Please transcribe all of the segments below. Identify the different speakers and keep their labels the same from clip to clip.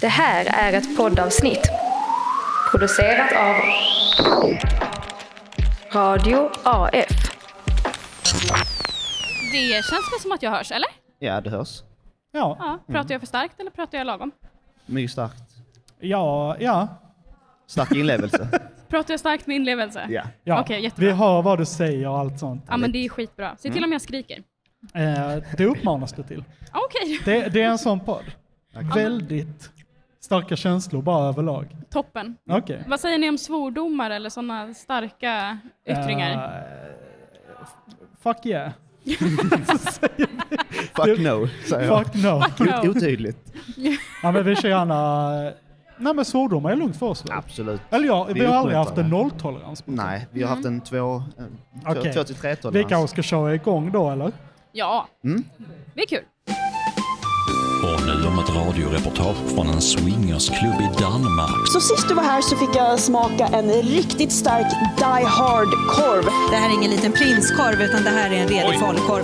Speaker 1: Det här är ett poddavsnitt producerat av Radio AF.
Speaker 2: Det känns väl som att jag hörs, eller?
Speaker 3: Ja, det hörs.
Speaker 4: Ja,
Speaker 3: Mm.
Speaker 2: Ja. Pratar jag för starkt eller pratar jag lagom?
Speaker 3: Mycket starkt.
Speaker 4: ja, ja.
Speaker 3: Stark inlevelse.
Speaker 2: Pratar jag starkt med inlevelse?
Speaker 3: ja.
Speaker 4: ja.
Speaker 2: Okej, jättebra.
Speaker 4: Vi hör vad du säger och allt sånt.
Speaker 2: Ja, men det är skitbra. Se
Speaker 3: Mm.
Speaker 2: till om jag skriker.
Speaker 4: Eh, det uppmanas du till.
Speaker 2: Ah, Okej,
Speaker 4: Det, det är en sån podd. Väldigt starka känslor bara överlag.
Speaker 2: Mm. toppen.
Speaker 4: Okej.
Speaker 2: Vad säger ni om svordomar eller sådana starka yttringar?
Speaker 4: Eh, fuck yeah.
Speaker 3: Fuck no, säger jag.
Speaker 4: Fuck no.
Speaker 2: no.
Speaker 3: Otydligt.
Speaker 4: Ja, men vi kör gärna... eh, Nej men svordomar är lugnt för oss väl?
Speaker 3: Absolut.
Speaker 4: Eller ja, vi,
Speaker 3: Vi
Speaker 4: har aldrig
Speaker 3: uppmuntrar
Speaker 4: haft en
Speaker 3: det.
Speaker 4: nolltolerans. mot
Speaker 3: Nej, vi har haft en två, en, två-
Speaker 4: Okej.
Speaker 3: två till tre
Speaker 4: det. Vi kanske ska köra igång då eller?
Speaker 2: Ja,
Speaker 3: Mm.
Speaker 2: det är kul.
Speaker 5: Och nu om ett radioreportage från en swingersklubb i Danmark.
Speaker 6: Så sist du var här så fick jag smaka en riktigt stark Die Hard-korv.
Speaker 7: Det här är ingen liten prinskorv utan det här är en redig falukorv.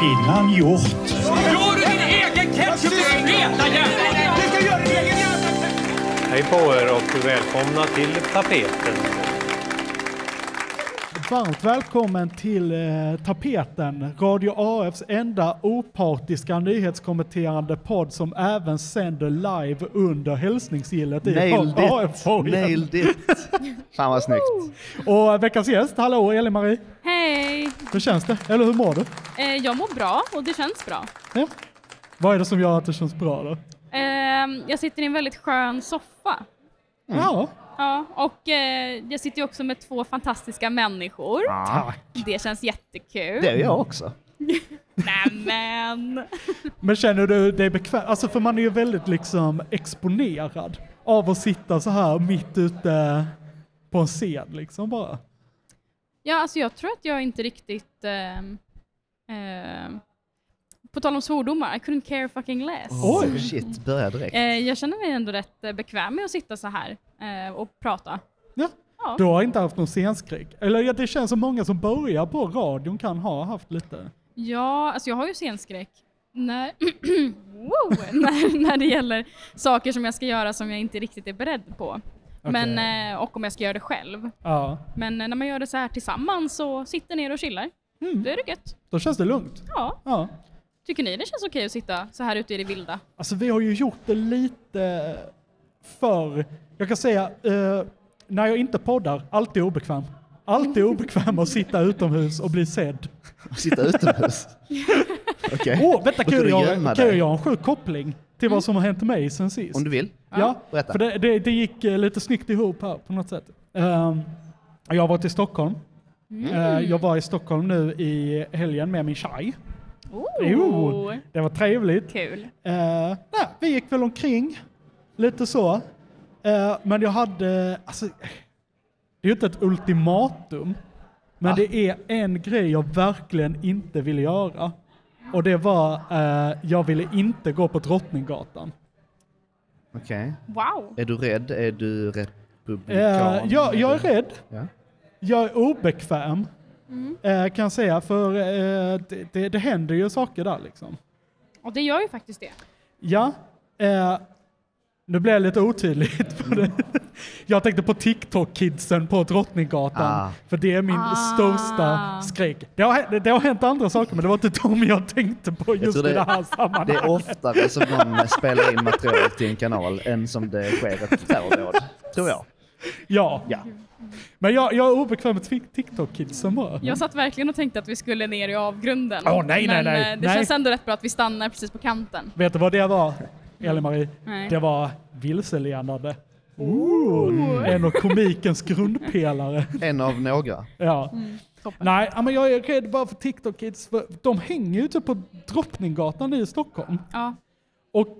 Speaker 8: Kvinnan gjort.
Speaker 9: Gör du din egen ketchup, din feta jävel! Du ska göra din egen jävla
Speaker 10: Hej på er och välkomna till tapeten.
Speaker 4: Varmt välkommen till eh, Tapeten, Radio AFs enda opartiska nyhetskommenterande podd som även sänder live under hälsningsgillet i
Speaker 3: Nailed it!
Speaker 4: AF-fojen.
Speaker 3: Nailed it! Fan vad snyggt.
Speaker 4: Och eh, veckans gäst, hallå Elin-Marie,
Speaker 2: Hej!
Speaker 4: hur känns det? Eller hur mår du?
Speaker 2: Eh, jag mår bra och det känns bra.
Speaker 4: Ja. Vad är det som gör att det känns bra
Speaker 3: Mm.
Speaker 4: då?
Speaker 2: Ehm, jag sitter i en väldigt skön soffa.
Speaker 4: Ja,
Speaker 2: Ja, och eh, jag sitter ju också med två fantastiska människor.
Speaker 3: Ja,
Speaker 2: Det känns jättekul.
Speaker 3: det är jag också.
Speaker 2: Nämen!
Speaker 4: men känner du dig bekväm? Alltså för man är ju väldigt liksom exponerad av att sitta så här mitt ute på en scen liksom bara.
Speaker 2: Ja, alltså jag tror att jag inte riktigt... ehm, ehm, på tal om svordomar, I couldn't care fucking less.
Speaker 4: Oj.
Speaker 3: Shit, börja direkt.
Speaker 2: Eh, jag känner mig ändå rätt eh, bekväm med att sitta så här eh, och prata.
Speaker 4: Ja.
Speaker 2: Ja.
Speaker 4: Du har inte haft någon scenskräck? Eller ja, det känns som många som börjar på radion kan ha haft lite.
Speaker 2: Ja, alltså jag har ju scenskräck när, wow, när, när det gäller saker som jag ska göra som jag inte riktigt är beredd på. Men, eh, och om jag ska göra det själv.
Speaker 4: Ja,
Speaker 2: Men eh, när man gör det så här tillsammans och sitter ner och chillar,
Speaker 4: Mm.
Speaker 2: då är det gött.
Speaker 4: då känns det lugnt.
Speaker 2: Ja.
Speaker 4: Ja.
Speaker 2: Tycker ni det känns okej att sitta så här ute i det vilda?
Speaker 4: Alltså vi har ju gjort det lite för, jag kan säga, eh, när jag inte poddar, alltid obekväm. Alltid obekväm att sitta utomhus och bli sedd.
Speaker 3: Sitta utomhus. Okej.
Speaker 4: Åh, oh, vänta,
Speaker 3: Måste
Speaker 4: kan jag,
Speaker 3: du
Speaker 4: göra-
Speaker 3: gömma
Speaker 4: kan jag
Speaker 3: dig?
Speaker 4: göra en sjuk koppling till vad som har hänt mig sen sist?
Speaker 3: Om du vill.
Speaker 4: Ja,
Speaker 3: Berätta.
Speaker 4: för det, det, det gick eh, lite snyggt ihop här på något sätt. Ehm, jag har varit i Stockholm. Eh, jag var i Stockholm nu i helgen med min tjej.
Speaker 2: Oh,
Speaker 4: Jo, det var trevligt.
Speaker 2: Kul.
Speaker 4: Eh, nej, vi gick väl omkring lite så. Eh, men jag hade, alltså, det är ju inte ett ultimatum, men det är en grej jag verkligen inte ville göra. Och det var, eh, jag ville inte gå på Drottninggatan.
Speaker 3: Okej.
Speaker 2: Wow.
Speaker 3: Är du rädd? Är du republikan?
Speaker 4: Eh, jag, jag är rädd.
Speaker 3: Ja.
Speaker 4: Jag är obekväm, eh, kan jag säga, för eh, det, det, det händer ju saker där liksom.
Speaker 2: Och det gör ju faktiskt det.
Speaker 4: Ja, eh, nu blev jag lite otydligt. På det. Jag tänkte på TikTok-kidsen på Drottninggatan,
Speaker 3: Ah.
Speaker 4: för det är min största skräck. Det har, hänt- det har hänt andra saker, men det var inte dem jag tänkte på just
Speaker 3: tror
Speaker 4: i
Speaker 3: det-
Speaker 4: det här sammanhanget.
Speaker 3: Det är oftare som någon spelar in material till en kanal än som det sker ett terrordåd. Tror jag.
Speaker 4: Ja.
Speaker 3: Ja.
Speaker 4: Men jag, jag är obekväm med Tik- TikTok-kidsen bara.
Speaker 2: Jag satt verkligen och tänkte att vi skulle ner i avgrunden.
Speaker 4: Mm. Åh, nej, nej,
Speaker 2: Men
Speaker 4: nej,
Speaker 2: eh, det
Speaker 4: nej.
Speaker 2: känns ändå rätt bra att vi stannar precis på kanten.
Speaker 4: Vet du vad det var, Elin-Marie?
Speaker 2: Nej.
Speaker 4: Det var vilseledande. Ooh. En av komikens grundpelare.
Speaker 3: En av några.
Speaker 4: Ja. Nej, ja, men jag är rädd bara för TikTok Kids. För de hänger ju typ på Drottninggatan i Stockholm.
Speaker 2: Ja.
Speaker 4: Och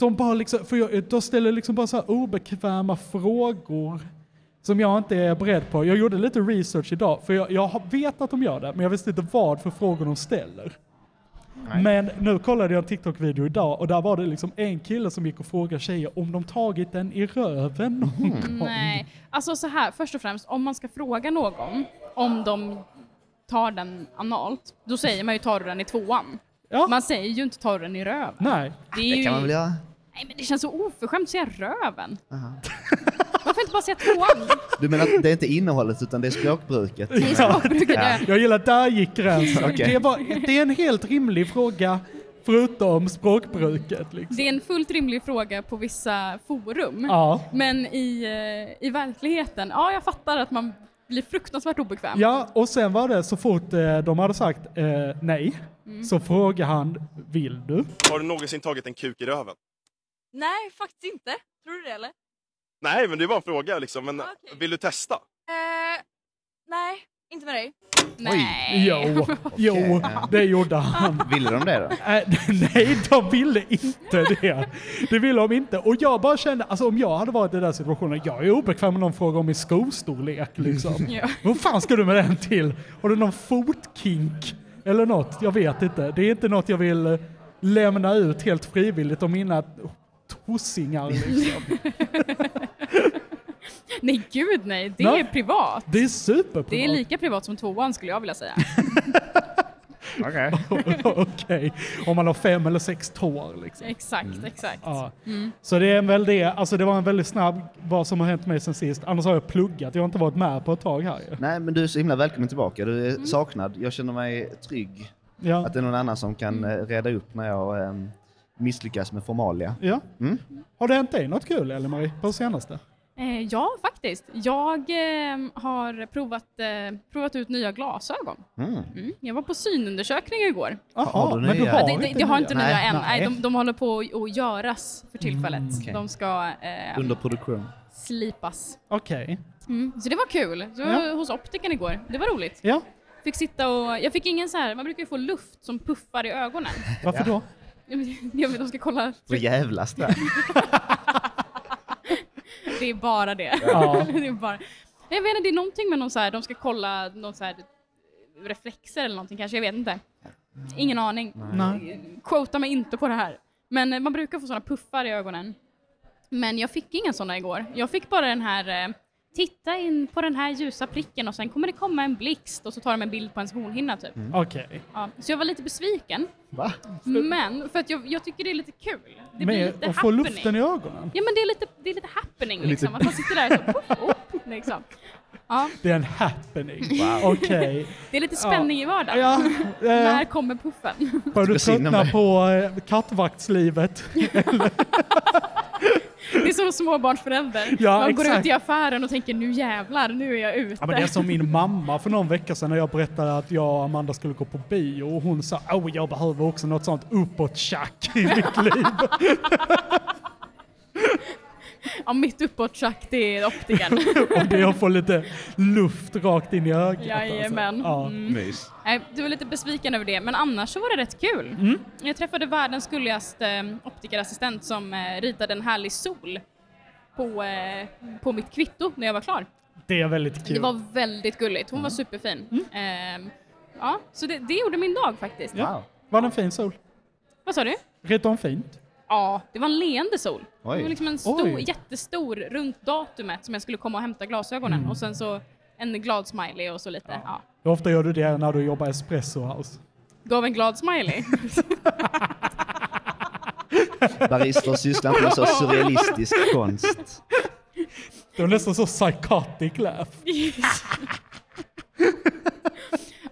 Speaker 4: de bara liksom, för jag, de ställer liksom bara så här obekväma frågor som jag inte är beredd på. Jag gjorde lite research idag, för jag, jag har- vet att de gör det, men jag visste inte vad för frågor de ställer. Men nu kollade jag en TikTok-video idag och där var det liksom en kille som gick och frågade tjejer om de tagit den i röven någon gång.
Speaker 2: Nej. Alltså så här, först och främst, om man ska fråga någon om de tar den analt, då säger man ju tar du den i tvåan.
Speaker 4: Ja.
Speaker 2: Man säger ju inte tar du den i röven.
Speaker 4: Nej.
Speaker 2: Det är
Speaker 3: Det kan man väl
Speaker 2: ju...
Speaker 3: göra?
Speaker 2: Nej men det känns så oförskämt att säga röven. Varför inte bara säga tvåan?
Speaker 3: Du menar att det är inte innehållet utan det är språkbruket?
Speaker 2: I språkbruket. Ja.
Speaker 4: Jag gillar, där gick gränsen.
Speaker 3: Okej.
Speaker 4: Det, var, det är en helt rimlig fråga, förutom språkbruket. Liksom.
Speaker 2: Det är en fullt rimlig fråga på vissa forum.
Speaker 4: Ja.
Speaker 2: Men i, eh, i verkligheten, ja jag fattar att man blir fruktansvärt obekväm.
Speaker 4: Ja, och sen var det så fort eh, de hade sagt eh, nej, så frågade han vill du?
Speaker 10: Har du någonsin tagit en kuk i röven?
Speaker 11: Nej, faktiskt inte. Tror du det eller?
Speaker 10: Nej, men det var en fråga liksom. Men vill du testa?
Speaker 11: Eh, nej, inte med dig.
Speaker 4: Jo, jo, det gjorde han.
Speaker 3: Ville de det då?
Speaker 4: Äh, Nej, de ville inte det. Det ville de inte. Och jag bara kände, alltså om jag hade varit i den där situationen, jag är obekväm med någon fråga om min skostorlek liksom.
Speaker 2: Ja.
Speaker 4: Vad fan ska du med den till? Har du någon fotkink? Eller något? Jag vet inte. Det är inte något jag vill eh, lämna ut helt frivilligt om mina tossingar liksom.
Speaker 2: Nej gud nej, det
Speaker 4: Nej.
Speaker 2: är privat.
Speaker 4: Det är superprivat.
Speaker 2: Det är lika privat som tvåan skulle jag vilja säga.
Speaker 3: Okej.
Speaker 4: Okej. Om man har fem eller sex tår liksom.
Speaker 2: exakt, exakt.
Speaker 4: Ja.
Speaker 2: Mm.
Speaker 4: Så det är väl det, alltså det var en väldigt snabb, vad som har hänt mig sen sist. Annars har jag pluggat, jag har inte varit med på ett tag här ju.
Speaker 3: Nej, men du är så himla välkommen tillbaka. Du är saknad. Jag känner mig trygg.
Speaker 4: Ja.
Speaker 3: Att det är någon annan som kan eh, reda upp när jag eh, misslyckas med formalia.
Speaker 4: Ja.
Speaker 3: Mm.
Speaker 4: Har det hänt dig något kul, Ellie-Marie, på senaste?
Speaker 2: Eh, ja, faktiskt. Jag eh, har provat, eh, provat ut nya glasögon.
Speaker 3: Mm.
Speaker 2: Mm. Jag var på synundersökning igår.
Speaker 3: Jaha,
Speaker 4: men du har
Speaker 2: Ja, det, det,
Speaker 4: inte
Speaker 2: det har
Speaker 4: nya.
Speaker 2: inte nya
Speaker 4: Nej,
Speaker 2: än. Nej,
Speaker 4: nej.
Speaker 2: de, de håller på att- att göras för tillfället.
Speaker 3: okej.
Speaker 2: De ska eh,
Speaker 3: Under produktion.
Speaker 2: slipas.
Speaker 4: Okej.
Speaker 2: Mm. Så det var kul. Så jag var hos optiken igår. Det var roligt.
Speaker 4: Ja.
Speaker 2: Fick sitta och, jag fick ingen så här, man brukar ju få luft som puffar i ögonen.
Speaker 4: Varför då?
Speaker 2: Jag vet, de ska kolla,
Speaker 3: För jävlas där.
Speaker 2: det är bara det.
Speaker 3: Ja.
Speaker 2: det är bara. Jag vet inte, det är någonting med någon så här, de ska kolla någon så här reflexer eller någonting kanske, jag vet inte. Ingen aning.
Speaker 4: Nej.
Speaker 2: Quota mig inte på det här. Men eh, man brukar få sådana puffar i ögonen. Men jag fick inga sådana igår. Jag fick bara den här eh, titta in på den här ljusa pricken och sen kommer det komma en blixt och så tar de en bild på ens hornhinna typ.
Speaker 4: Okej.
Speaker 2: Ja, så jag var lite besviken.
Speaker 3: Va?
Speaker 2: Men för att jag, jag tycker det är lite kul. Det blir
Speaker 4: Men
Speaker 2: lite
Speaker 4: att få
Speaker 2: happening.
Speaker 4: luften i ögonen?
Speaker 2: Ja men det är lite, det är lite happening
Speaker 4: Lite-
Speaker 2: liksom. Att man sitter där så pop, pop, liksom. Ja,
Speaker 4: Det är en happening.
Speaker 2: Wow.
Speaker 4: Okej.
Speaker 2: det är lite spänning i vardagen.
Speaker 4: Ja, eh,
Speaker 2: När kommer puffen?
Speaker 4: Börjar du
Speaker 3: Tycker synd om
Speaker 4: tröttna
Speaker 3: mig.
Speaker 4: på eh, kattvaktslivet?
Speaker 2: Det är som småbarnsförälder.
Speaker 4: Ja,
Speaker 2: man går
Speaker 4: exakt.
Speaker 2: ut i affären och tänker nu jävlar, nu är jag ute.
Speaker 4: Ja, men det är som min mamma för någon vecka sedan när jag berättade att jag och Amanda skulle gå på bio och hon sa åh jag behöver också något sånt uppåt-tjack i mitt liv.
Speaker 2: Ja, mitt uppåt tjack, det är optiken.
Speaker 4: och det jag får lite luft rakt in i ögat.
Speaker 2: Jajamän.
Speaker 4: Alltså. Ja.
Speaker 2: Mm.
Speaker 4: Mys.
Speaker 2: Nej, du var lite besviken över det, men annars så var det rätt kul.
Speaker 4: Mm.
Speaker 2: Jag träffade världens gulligaste eh, optikerassistent som eh, ritade en härlig sol på, eh, på mitt kvitto när jag var klar.
Speaker 4: Det är väldigt kul. Mm.
Speaker 2: Det var väldigt gulligt. Hon var superfin. Ehm, ja, så det, det gjorde min dag faktiskt.
Speaker 4: ja. var det en fin sol?
Speaker 2: Vad sa du?
Speaker 4: Ritade hon fint?
Speaker 2: Ja, det var en leende sol.
Speaker 4: Oj.
Speaker 2: Det var liksom en stor,
Speaker 4: Oj.
Speaker 2: jättestor runt datumet som jag skulle komma och hämta glasögonen
Speaker 4: Mm.
Speaker 2: och sen så en glad smiley och så lite. Ja.
Speaker 4: Hur ofta gör du det när du jobbar i Espresso House?
Speaker 2: Gav en glad smiley.
Speaker 3: Barister sysslar inte med så surrealistisk konst.
Speaker 4: Det var nästan så psychotic laugh.
Speaker 2: Yes.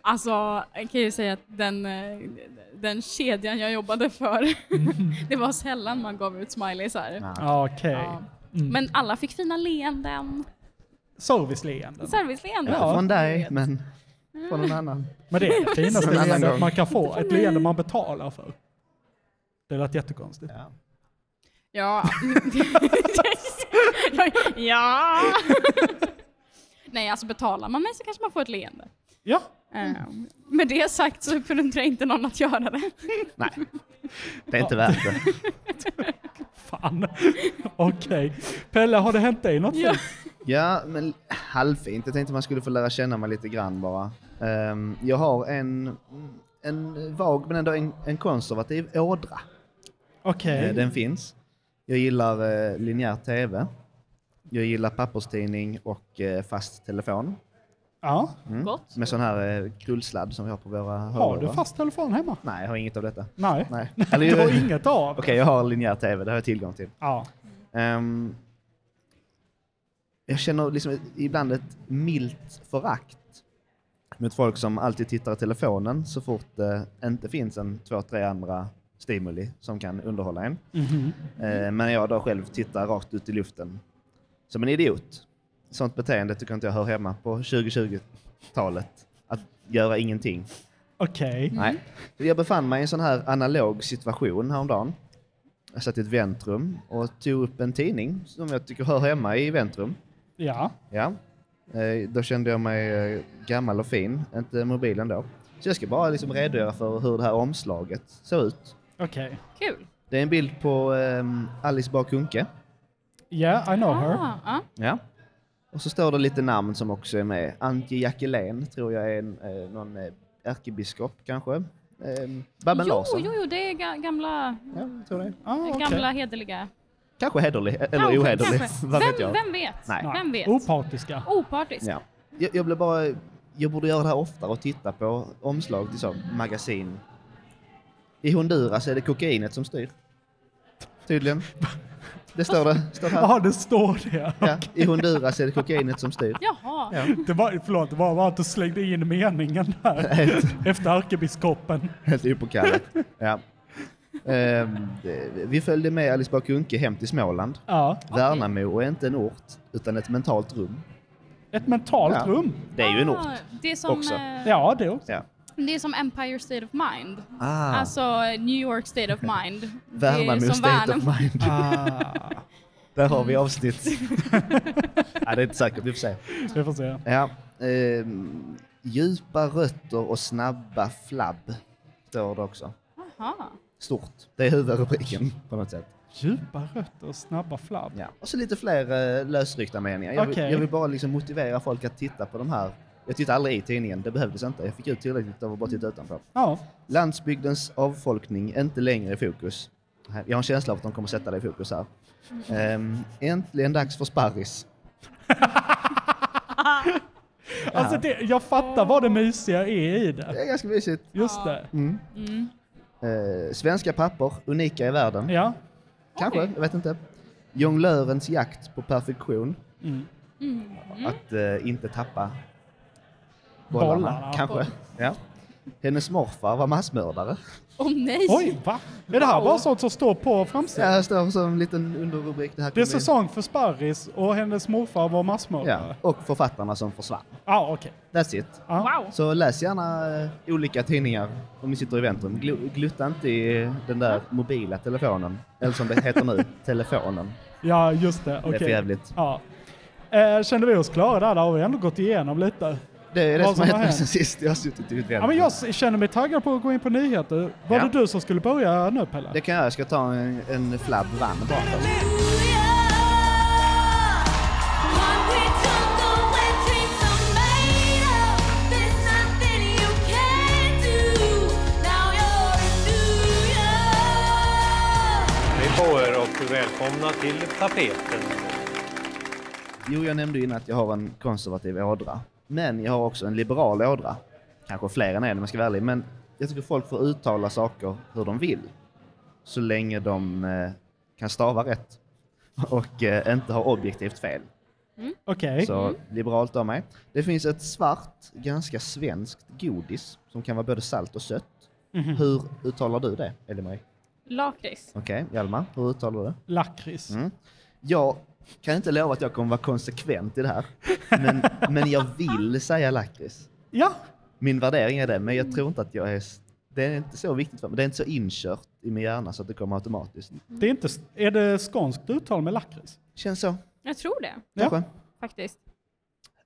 Speaker 2: alltså, jag kan ju säga att den, eh, den kedjan jag jobbade för, det var sällan man gav ut smileys här.
Speaker 4: Ja, Okej.
Speaker 2: Ja.
Speaker 4: Mm.
Speaker 2: Men alla fick fina leenden.
Speaker 4: Serviceleenden.
Speaker 2: Serviceleenden.
Speaker 4: Ja, från
Speaker 3: dig, men från någon annan.
Speaker 4: Men det är det finaste
Speaker 3: Någon annan
Speaker 4: leendet
Speaker 3: gång.
Speaker 4: man kan få. Ett leende man betalar för. Det lät jättekonstigt.
Speaker 2: Ja. ja. Nej, alltså betalar man mig så kanske man får ett leende.
Speaker 4: Ja.
Speaker 2: Ehm, Med det sagt så uppmuntrar jag inte någon att göra det.
Speaker 3: Nej, det är inte värt det.
Speaker 4: Fan. Okej. Pelle, har det hänt dig något?
Speaker 2: Ja.
Speaker 3: Ja, men halvfint. Jag tänkte man skulle få lära känna mig lite grann bara. Ehm, jag har en, en vag men ändå en, en konservativ ådra.
Speaker 4: Okej.
Speaker 3: Eh, Den finns. Jag gillar eh, linjär tv. Jag gillar papperstidning och eh, fast telefon.
Speaker 4: Ja.
Speaker 2: Gott.
Speaker 3: Med sån här eh, krullsladd som vi har på våra
Speaker 4: Har du
Speaker 3: hörlurar.
Speaker 4: fast telefon hemma?
Speaker 3: Nej, jag har inget av detta.
Speaker 4: Nej.
Speaker 3: Nej.
Speaker 4: Det var inget av.
Speaker 3: Okej, jag har linjär tv, det har jag tillgång till.
Speaker 4: Ja.
Speaker 3: Ehm, jag känner liksom ibland ett milt förakt mot folk som alltid tittar i telefonen så fort det inte finns en två, tre andra stimuli som kan underhålla en.
Speaker 12: Mhm.
Speaker 3: Eh, men jag då själv tittar rakt ut i luften som en idiot. Sånt beteende tycker inte jag hör hemma på 2020-talet. Att göra ingenting.
Speaker 4: Okej.
Speaker 3: Nej. Jag befann mig i en sån här analog situation häromdagen. Jag satt i ett väntrum och tog upp en tidning som jag tycker hör hemma i väntrum.
Speaker 4: Ja.
Speaker 3: Ja. Eh, Då kände jag mig eh, gammal och fin, inte mobilen då. Så jag ska bara liksom redogöra för hur det här omslaget ser ut.
Speaker 4: Okej.
Speaker 2: Kul.
Speaker 3: Det är en bild på ehm, Alice Bah Kuhnke.
Speaker 4: Yeah, I know her.
Speaker 2: Ah, ah.
Speaker 3: Ja. Och så står det lite namn som också är med. Antje Jackelén tror jag är en, eh, någon eh, ärkebiskop kanske. Ehm, Babben
Speaker 2: jo,
Speaker 3: Larsson.
Speaker 2: jo, jo, det är ga- gamla,
Speaker 3: tror det.
Speaker 4: Ah,
Speaker 2: gamla hederliga.
Speaker 3: Kanske hederlig, eller
Speaker 2: Kanske,
Speaker 3: ohederlig.
Speaker 2: kanske.
Speaker 3: Vad vet
Speaker 2: Vem-
Speaker 3: jag?
Speaker 2: vem vet?
Speaker 3: Nej.
Speaker 2: Vem vet?
Speaker 4: Opartiska.
Speaker 2: Opartiskt.
Speaker 3: Ja. Jag, jag blev bara... Jag borde göra det här oftare och titta på omslag till sån magasin. I Honduras är det kokainet som styr. Tydligen. Det står det. Står här.
Speaker 4: Ja, det står det.
Speaker 3: Ja, I Honduras är det kokainet som styr.
Speaker 2: Jaha.
Speaker 4: Det var, förlåt, det var bara att du slängde in meningen där. Efter ärkebiskopen.
Speaker 3: Helt opåkallat. Ja. Ehm, det- vi följde med Alice Bah Kuhnke hem till Småland.
Speaker 4: Ja.
Speaker 3: Värnamo är inte en ort, utan ett mentalt rum.
Speaker 4: Ett mentalt
Speaker 3: Ja.
Speaker 4: rum.
Speaker 3: Det är ju en ort.
Speaker 2: Ah, Det är, som,
Speaker 3: också.
Speaker 2: eh,
Speaker 4: Ja, det också.
Speaker 3: Ja.
Speaker 2: det är som Empire State of Mind.
Speaker 3: Ah.
Speaker 2: Alltså eh, New York State of Mind. Det är
Speaker 3: Värnamo
Speaker 2: som
Speaker 3: State of
Speaker 2: Värnamo.
Speaker 3: Mind. Där har vi avsnitt. ja, det är inte säkert, vi får se.
Speaker 4: Vi får se.
Speaker 3: Ja, ehm, djupa rötter och snabba flabb står det också.
Speaker 2: Jaha.
Speaker 3: Stort. Det är huvudrubriken på något sätt.
Speaker 4: Djupa rötter och snabba flabb.
Speaker 3: Ja. Och så lite fler eh, lösryckta meningar. Jag, vill,
Speaker 4: Okej.
Speaker 3: jag vill bara liksom motivera folk att titta på de här. Jag tittade aldrig i tidningen, det behövdes inte. Jag fick ut tillräckligt av att bara titta utanför.
Speaker 4: Ja.
Speaker 3: Landsbygdens avfolkning är inte längre i fokus. Nej, Jag har en känsla av att de kommer sätta det i fokus här. Ehm, äntligen dags för sparris.
Speaker 4: Alltså det, jag fattar vad det mysiga är i det.
Speaker 3: Det är ganska mysigt.
Speaker 4: Just det.
Speaker 3: Mm. Eh, svenska papper, unika i världen.
Speaker 4: Ja.
Speaker 3: Kanske, jag vet inte. Jonglörens jakt på perfektion. Att eh, inte tappa bollarna.
Speaker 4: Bollarna.
Speaker 3: Kanske.
Speaker 4: Boll.
Speaker 3: Ja. Hennes morfar var massmördare.
Speaker 2: Åh nej!
Speaker 4: Oj, va? Är det här bara sånt som står på
Speaker 3: Ja,
Speaker 4: framsidan?
Speaker 3: här står som en liten underrubrik. Det, här
Speaker 4: Det är
Speaker 3: kommer in.
Speaker 4: säsong för sparris och hennes morfar var massmördare.
Speaker 3: Ja, och författarna som försvann.
Speaker 4: Ja, okej.
Speaker 3: That's it.
Speaker 2: Wow.
Speaker 3: Så läs gärna eh, olika tidningar om ni sitter i väntrum. Gl- glutta inte i eh, den där mobila telefonen. Eller som det heter nu, telefonen.
Speaker 4: Ja, just det. Okej.
Speaker 3: Det är för jävligt.
Speaker 4: Ja. Eh, kände vi oss klara där? Där har vi ändå gått igenom lite.
Speaker 3: Det är det
Speaker 4: Vad
Speaker 3: som har
Speaker 4: har
Speaker 3: hänt mig
Speaker 4: hänt.
Speaker 3: sen sist. Jag har suttit i ett
Speaker 4: Ja,
Speaker 3: väntrum.
Speaker 4: men jag s- känner mig taggad på att gå in på nyheter. Var det du som skulle börja nu Pelle?
Speaker 3: Det kan jag. Jag ska ta en, en flabb vann bara först.
Speaker 7: Hej på er och välkomna till tapeten.
Speaker 3: Jo, jag nämnde ju innan att jag har en konservativ ådra. Men jag har också en liberal ådra. Kanske fler än en om jag ska vara ärlig. Men jag tycker folk får uttala saker hur de vill. Så länge de eh, kan stava rätt. Och eh, inte har objektivt fel.
Speaker 4: Okej.
Speaker 3: Så liberalt av mig. Det finns ett svart, ganska svenskt godis som kan vara både salt och sött.
Speaker 4: Mhm.
Speaker 3: Hur uttalar du det, Elimari?
Speaker 2: Lakrits.
Speaker 3: Okej, Hjalmar, hur uttalar du det?
Speaker 4: Lakrits.
Speaker 3: Mm. Jag kan inte lova att jag kommer vara konsekvent i det här, men, men jag vill säga lakrits.
Speaker 4: Ja.
Speaker 3: Min värdering är det, men jag tror inte att jag är... s- Det är inte så viktigt för mig. Det är inte så inkört i min hjärna så att det kommer automatiskt.
Speaker 4: Det är, inte, s- är det skånskt uttal med lakrits?
Speaker 3: Känns så.
Speaker 2: Jag tror det,
Speaker 3: Kanske.
Speaker 2: faktiskt.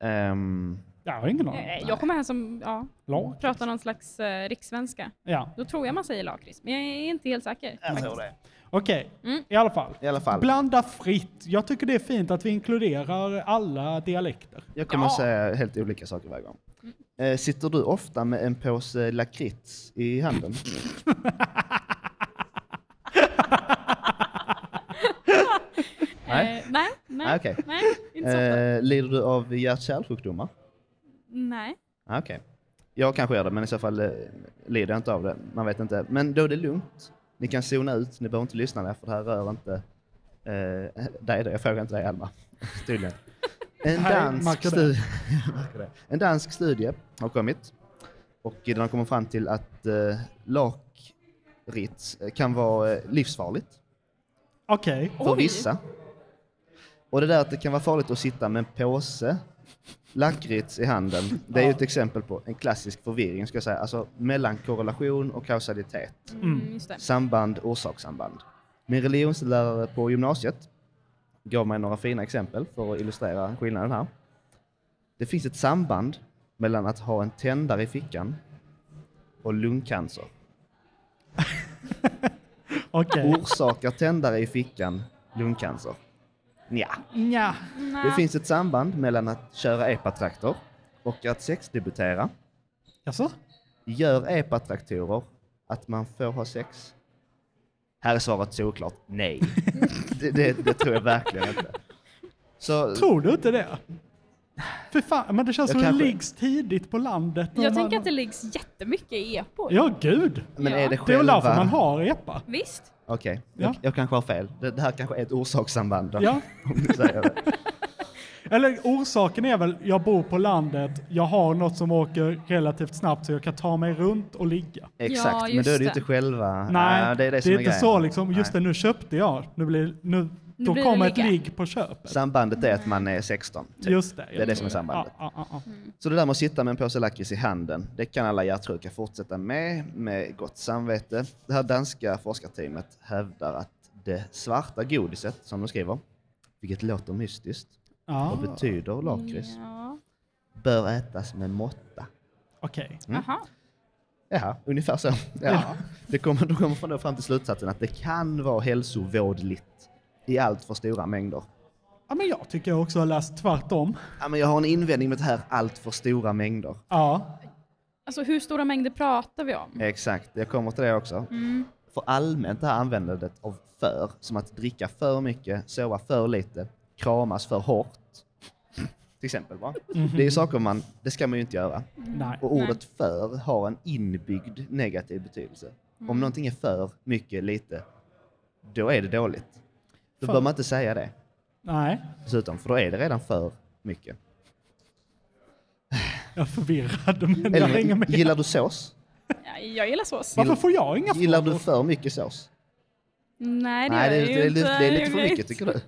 Speaker 3: Ehm,
Speaker 4: Jag har ingen aning.
Speaker 2: Eh, Jag kommer här som, ja,
Speaker 4: Lakrits.
Speaker 2: pratar någon slags eh, rikssvenska.
Speaker 4: Ja.
Speaker 2: Då tror jag man säger lakrits, men jag är inte helt säker.
Speaker 3: Eh,
Speaker 2: Eh,
Speaker 4: Okej,
Speaker 2: Mm.
Speaker 4: i alla fall.
Speaker 3: I alla fall.
Speaker 4: Blanda fritt. Jag tycker det är fint att vi inkluderar alla dialekter.
Speaker 3: Jag kommer att säga helt olika saker varje gång. Eh, sitter du ofta med en påse lakrits i handen?
Speaker 2: Eh, nej, nej,
Speaker 3: Ah, okej.
Speaker 2: nej, inte så ofta.
Speaker 3: Ah, Eh, lider du av hjärt-kärlsjukdomar?
Speaker 2: Nej.
Speaker 3: Ah, Okej. Jag kanske gör det, men i så fall eh, lider jag inte av det. Man vet inte. Men då är det lugnt. Ni kan zona ut, ni behöver inte lyssna där, för det här rör inte eh, dig. då. Jag frågar inte dig, Alma. Tydligen. En
Speaker 4: Här är
Speaker 3: dansk,
Speaker 4: Max.
Speaker 3: studie, en dansk studie har kommit och den har kommit fram till att eh, lakrits kan vara eh, livsfarligt
Speaker 4: Okej.
Speaker 3: för vissa. Och det där att det kan vara farligt att sitta med en påse lakrits i handen, det är ju ett exempel på en klassisk förvirring, ska jag säga. Alltså mellan korrelation och kausalitet.
Speaker 2: Mm, just det.
Speaker 3: Samband, orsakssamband. Min religionslärare på gymnasiet gav mig några fina exempel för att illustrera skillnaden här. Det finns ett samband mellan att ha en tändare i fickan och lungcancer.
Speaker 4: Okej.
Speaker 3: Orsakar tändare i fickan lungcancer? Nja.
Speaker 4: Nja.
Speaker 3: Det finns ett samband mellan att köra epatraktor och att sexdebutera.
Speaker 4: Jaså?
Speaker 3: Gör epatraktorer att man får ha sex? Här är svaret såklart nej. det, det, det tror jag verkligen inte. Så,
Speaker 4: Tror du inte det? För fan, men det känns
Speaker 3: Jag
Speaker 4: som
Speaker 3: kanske-
Speaker 4: det liggs tidigt på landet. när
Speaker 2: Jag
Speaker 4: man-
Speaker 2: tänker att det liggs jättemycket i epor.
Speaker 4: Ja, gud.
Speaker 3: Men är det
Speaker 4: Det är väl
Speaker 3: själva...
Speaker 4: därför man har epa.
Speaker 2: Visst?
Speaker 3: Okej, jag, jag kanske har fel. Det, det här kanske är ett orsakssamband. då,
Speaker 4: Ja.
Speaker 3: Om du säger det.
Speaker 4: Eller orsaken är väl, jag bor på landet, jag har något som åker relativt snabbt så jag kan ta mig runt och ligga.
Speaker 3: Exakt, men då är det ju inte själva...
Speaker 4: Nej,
Speaker 3: Ja,
Speaker 4: det är,
Speaker 3: det som är
Speaker 4: inte
Speaker 3: grejen.
Speaker 4: så liksom, just det, nu köpte jag, nu blir, nu,
Speaker 2: Nu
Speaker 4: då
Speaker 2: blir det
Speaker 4: kommer ett
Speaker 2: ligga.
Speaker 4: ligg på köpet.
Speaker 3: Sambandet är att man är 16. typ.
Speaker 4: Just det.
Speaker 3: Det är det som är sambandet.
Speaker 4: Ja, ja, ja.
Speaker 2: Mm.
Speaker 3: Så det där med att sitta med en påse lakrits i handen, det kan alla hjärtsjuka fortsätta med, med gott samvete. Det här danska forskarteamet hävdar att det svarta godiset, som de skriver, vilket låter mystiskt
Speaker 4: Ah.
Speaker 3: och betyder lakrits,
Speaker 2: Ja.
Speaker 3: bör ätas med måtta.
Speaker 4: Okej.
Speaker 3: Mm.
Speaker 2: Aha.
Speaker 3: Ja, ungefär så. Ja. Det kommer, då kommer man då fram till slutsatsen att det kan vara hälsovådligt i allt för stora mängder.
Speaker 4: Ja, men jag tycker jag också har läst tvärtom.
Speaker 3: Ja, men jag har en invändning mot det här allt för stora mängder.
Speaker 4: Ja.
Speaker 2: Alltså hur stora mängder pratar vi om?
Speaker 3: Exakt, jag kommer till det också.
Speaker 2: Mm.
Speaker 3: För allmänt det här användandet av för, som att dricka för mycket, sova för lite, kramas för hårt. Till exempel. Va?
Speaker 4: Mhm.
Speaker 3: Det är saker man, det ska man ju inte göra.
Speaker 4: Nej.
Speaker 3: Och ordet för har en inbyggd negativ betydelse.
Speaker 2: Mm.
Speaker 3: Om någonting är för mycket, lite, då är det dåligt. Då
Speaker 4: För-
Speaker 3: bör man inte säga det
Speaker 4: Nej,
Speaker 3: dessutom, för då är det redan för mycket.
Speaker 4: jag är förvirrad men jag hänger
Speaker 3: Eller,
Speaker 4: med.
Speaker 3: gillar du sås?
Speaker 2: Ja, jag gillar sås.
Speaker 4: Varför får jag inga
Speaker 3: Gillar
Speaker 4: frågor?
Speaker 3: du för mycket sås?
Speaker 2: Nej, det,
Speaker 3: Nej,
Speaker 2: gör jag
Speaker 3: det, är-
Speaker 2: ju
Speaker 3: det, är lite,
Speaker 2: inte.
Speaker 3: det är lite för mycket tycker du?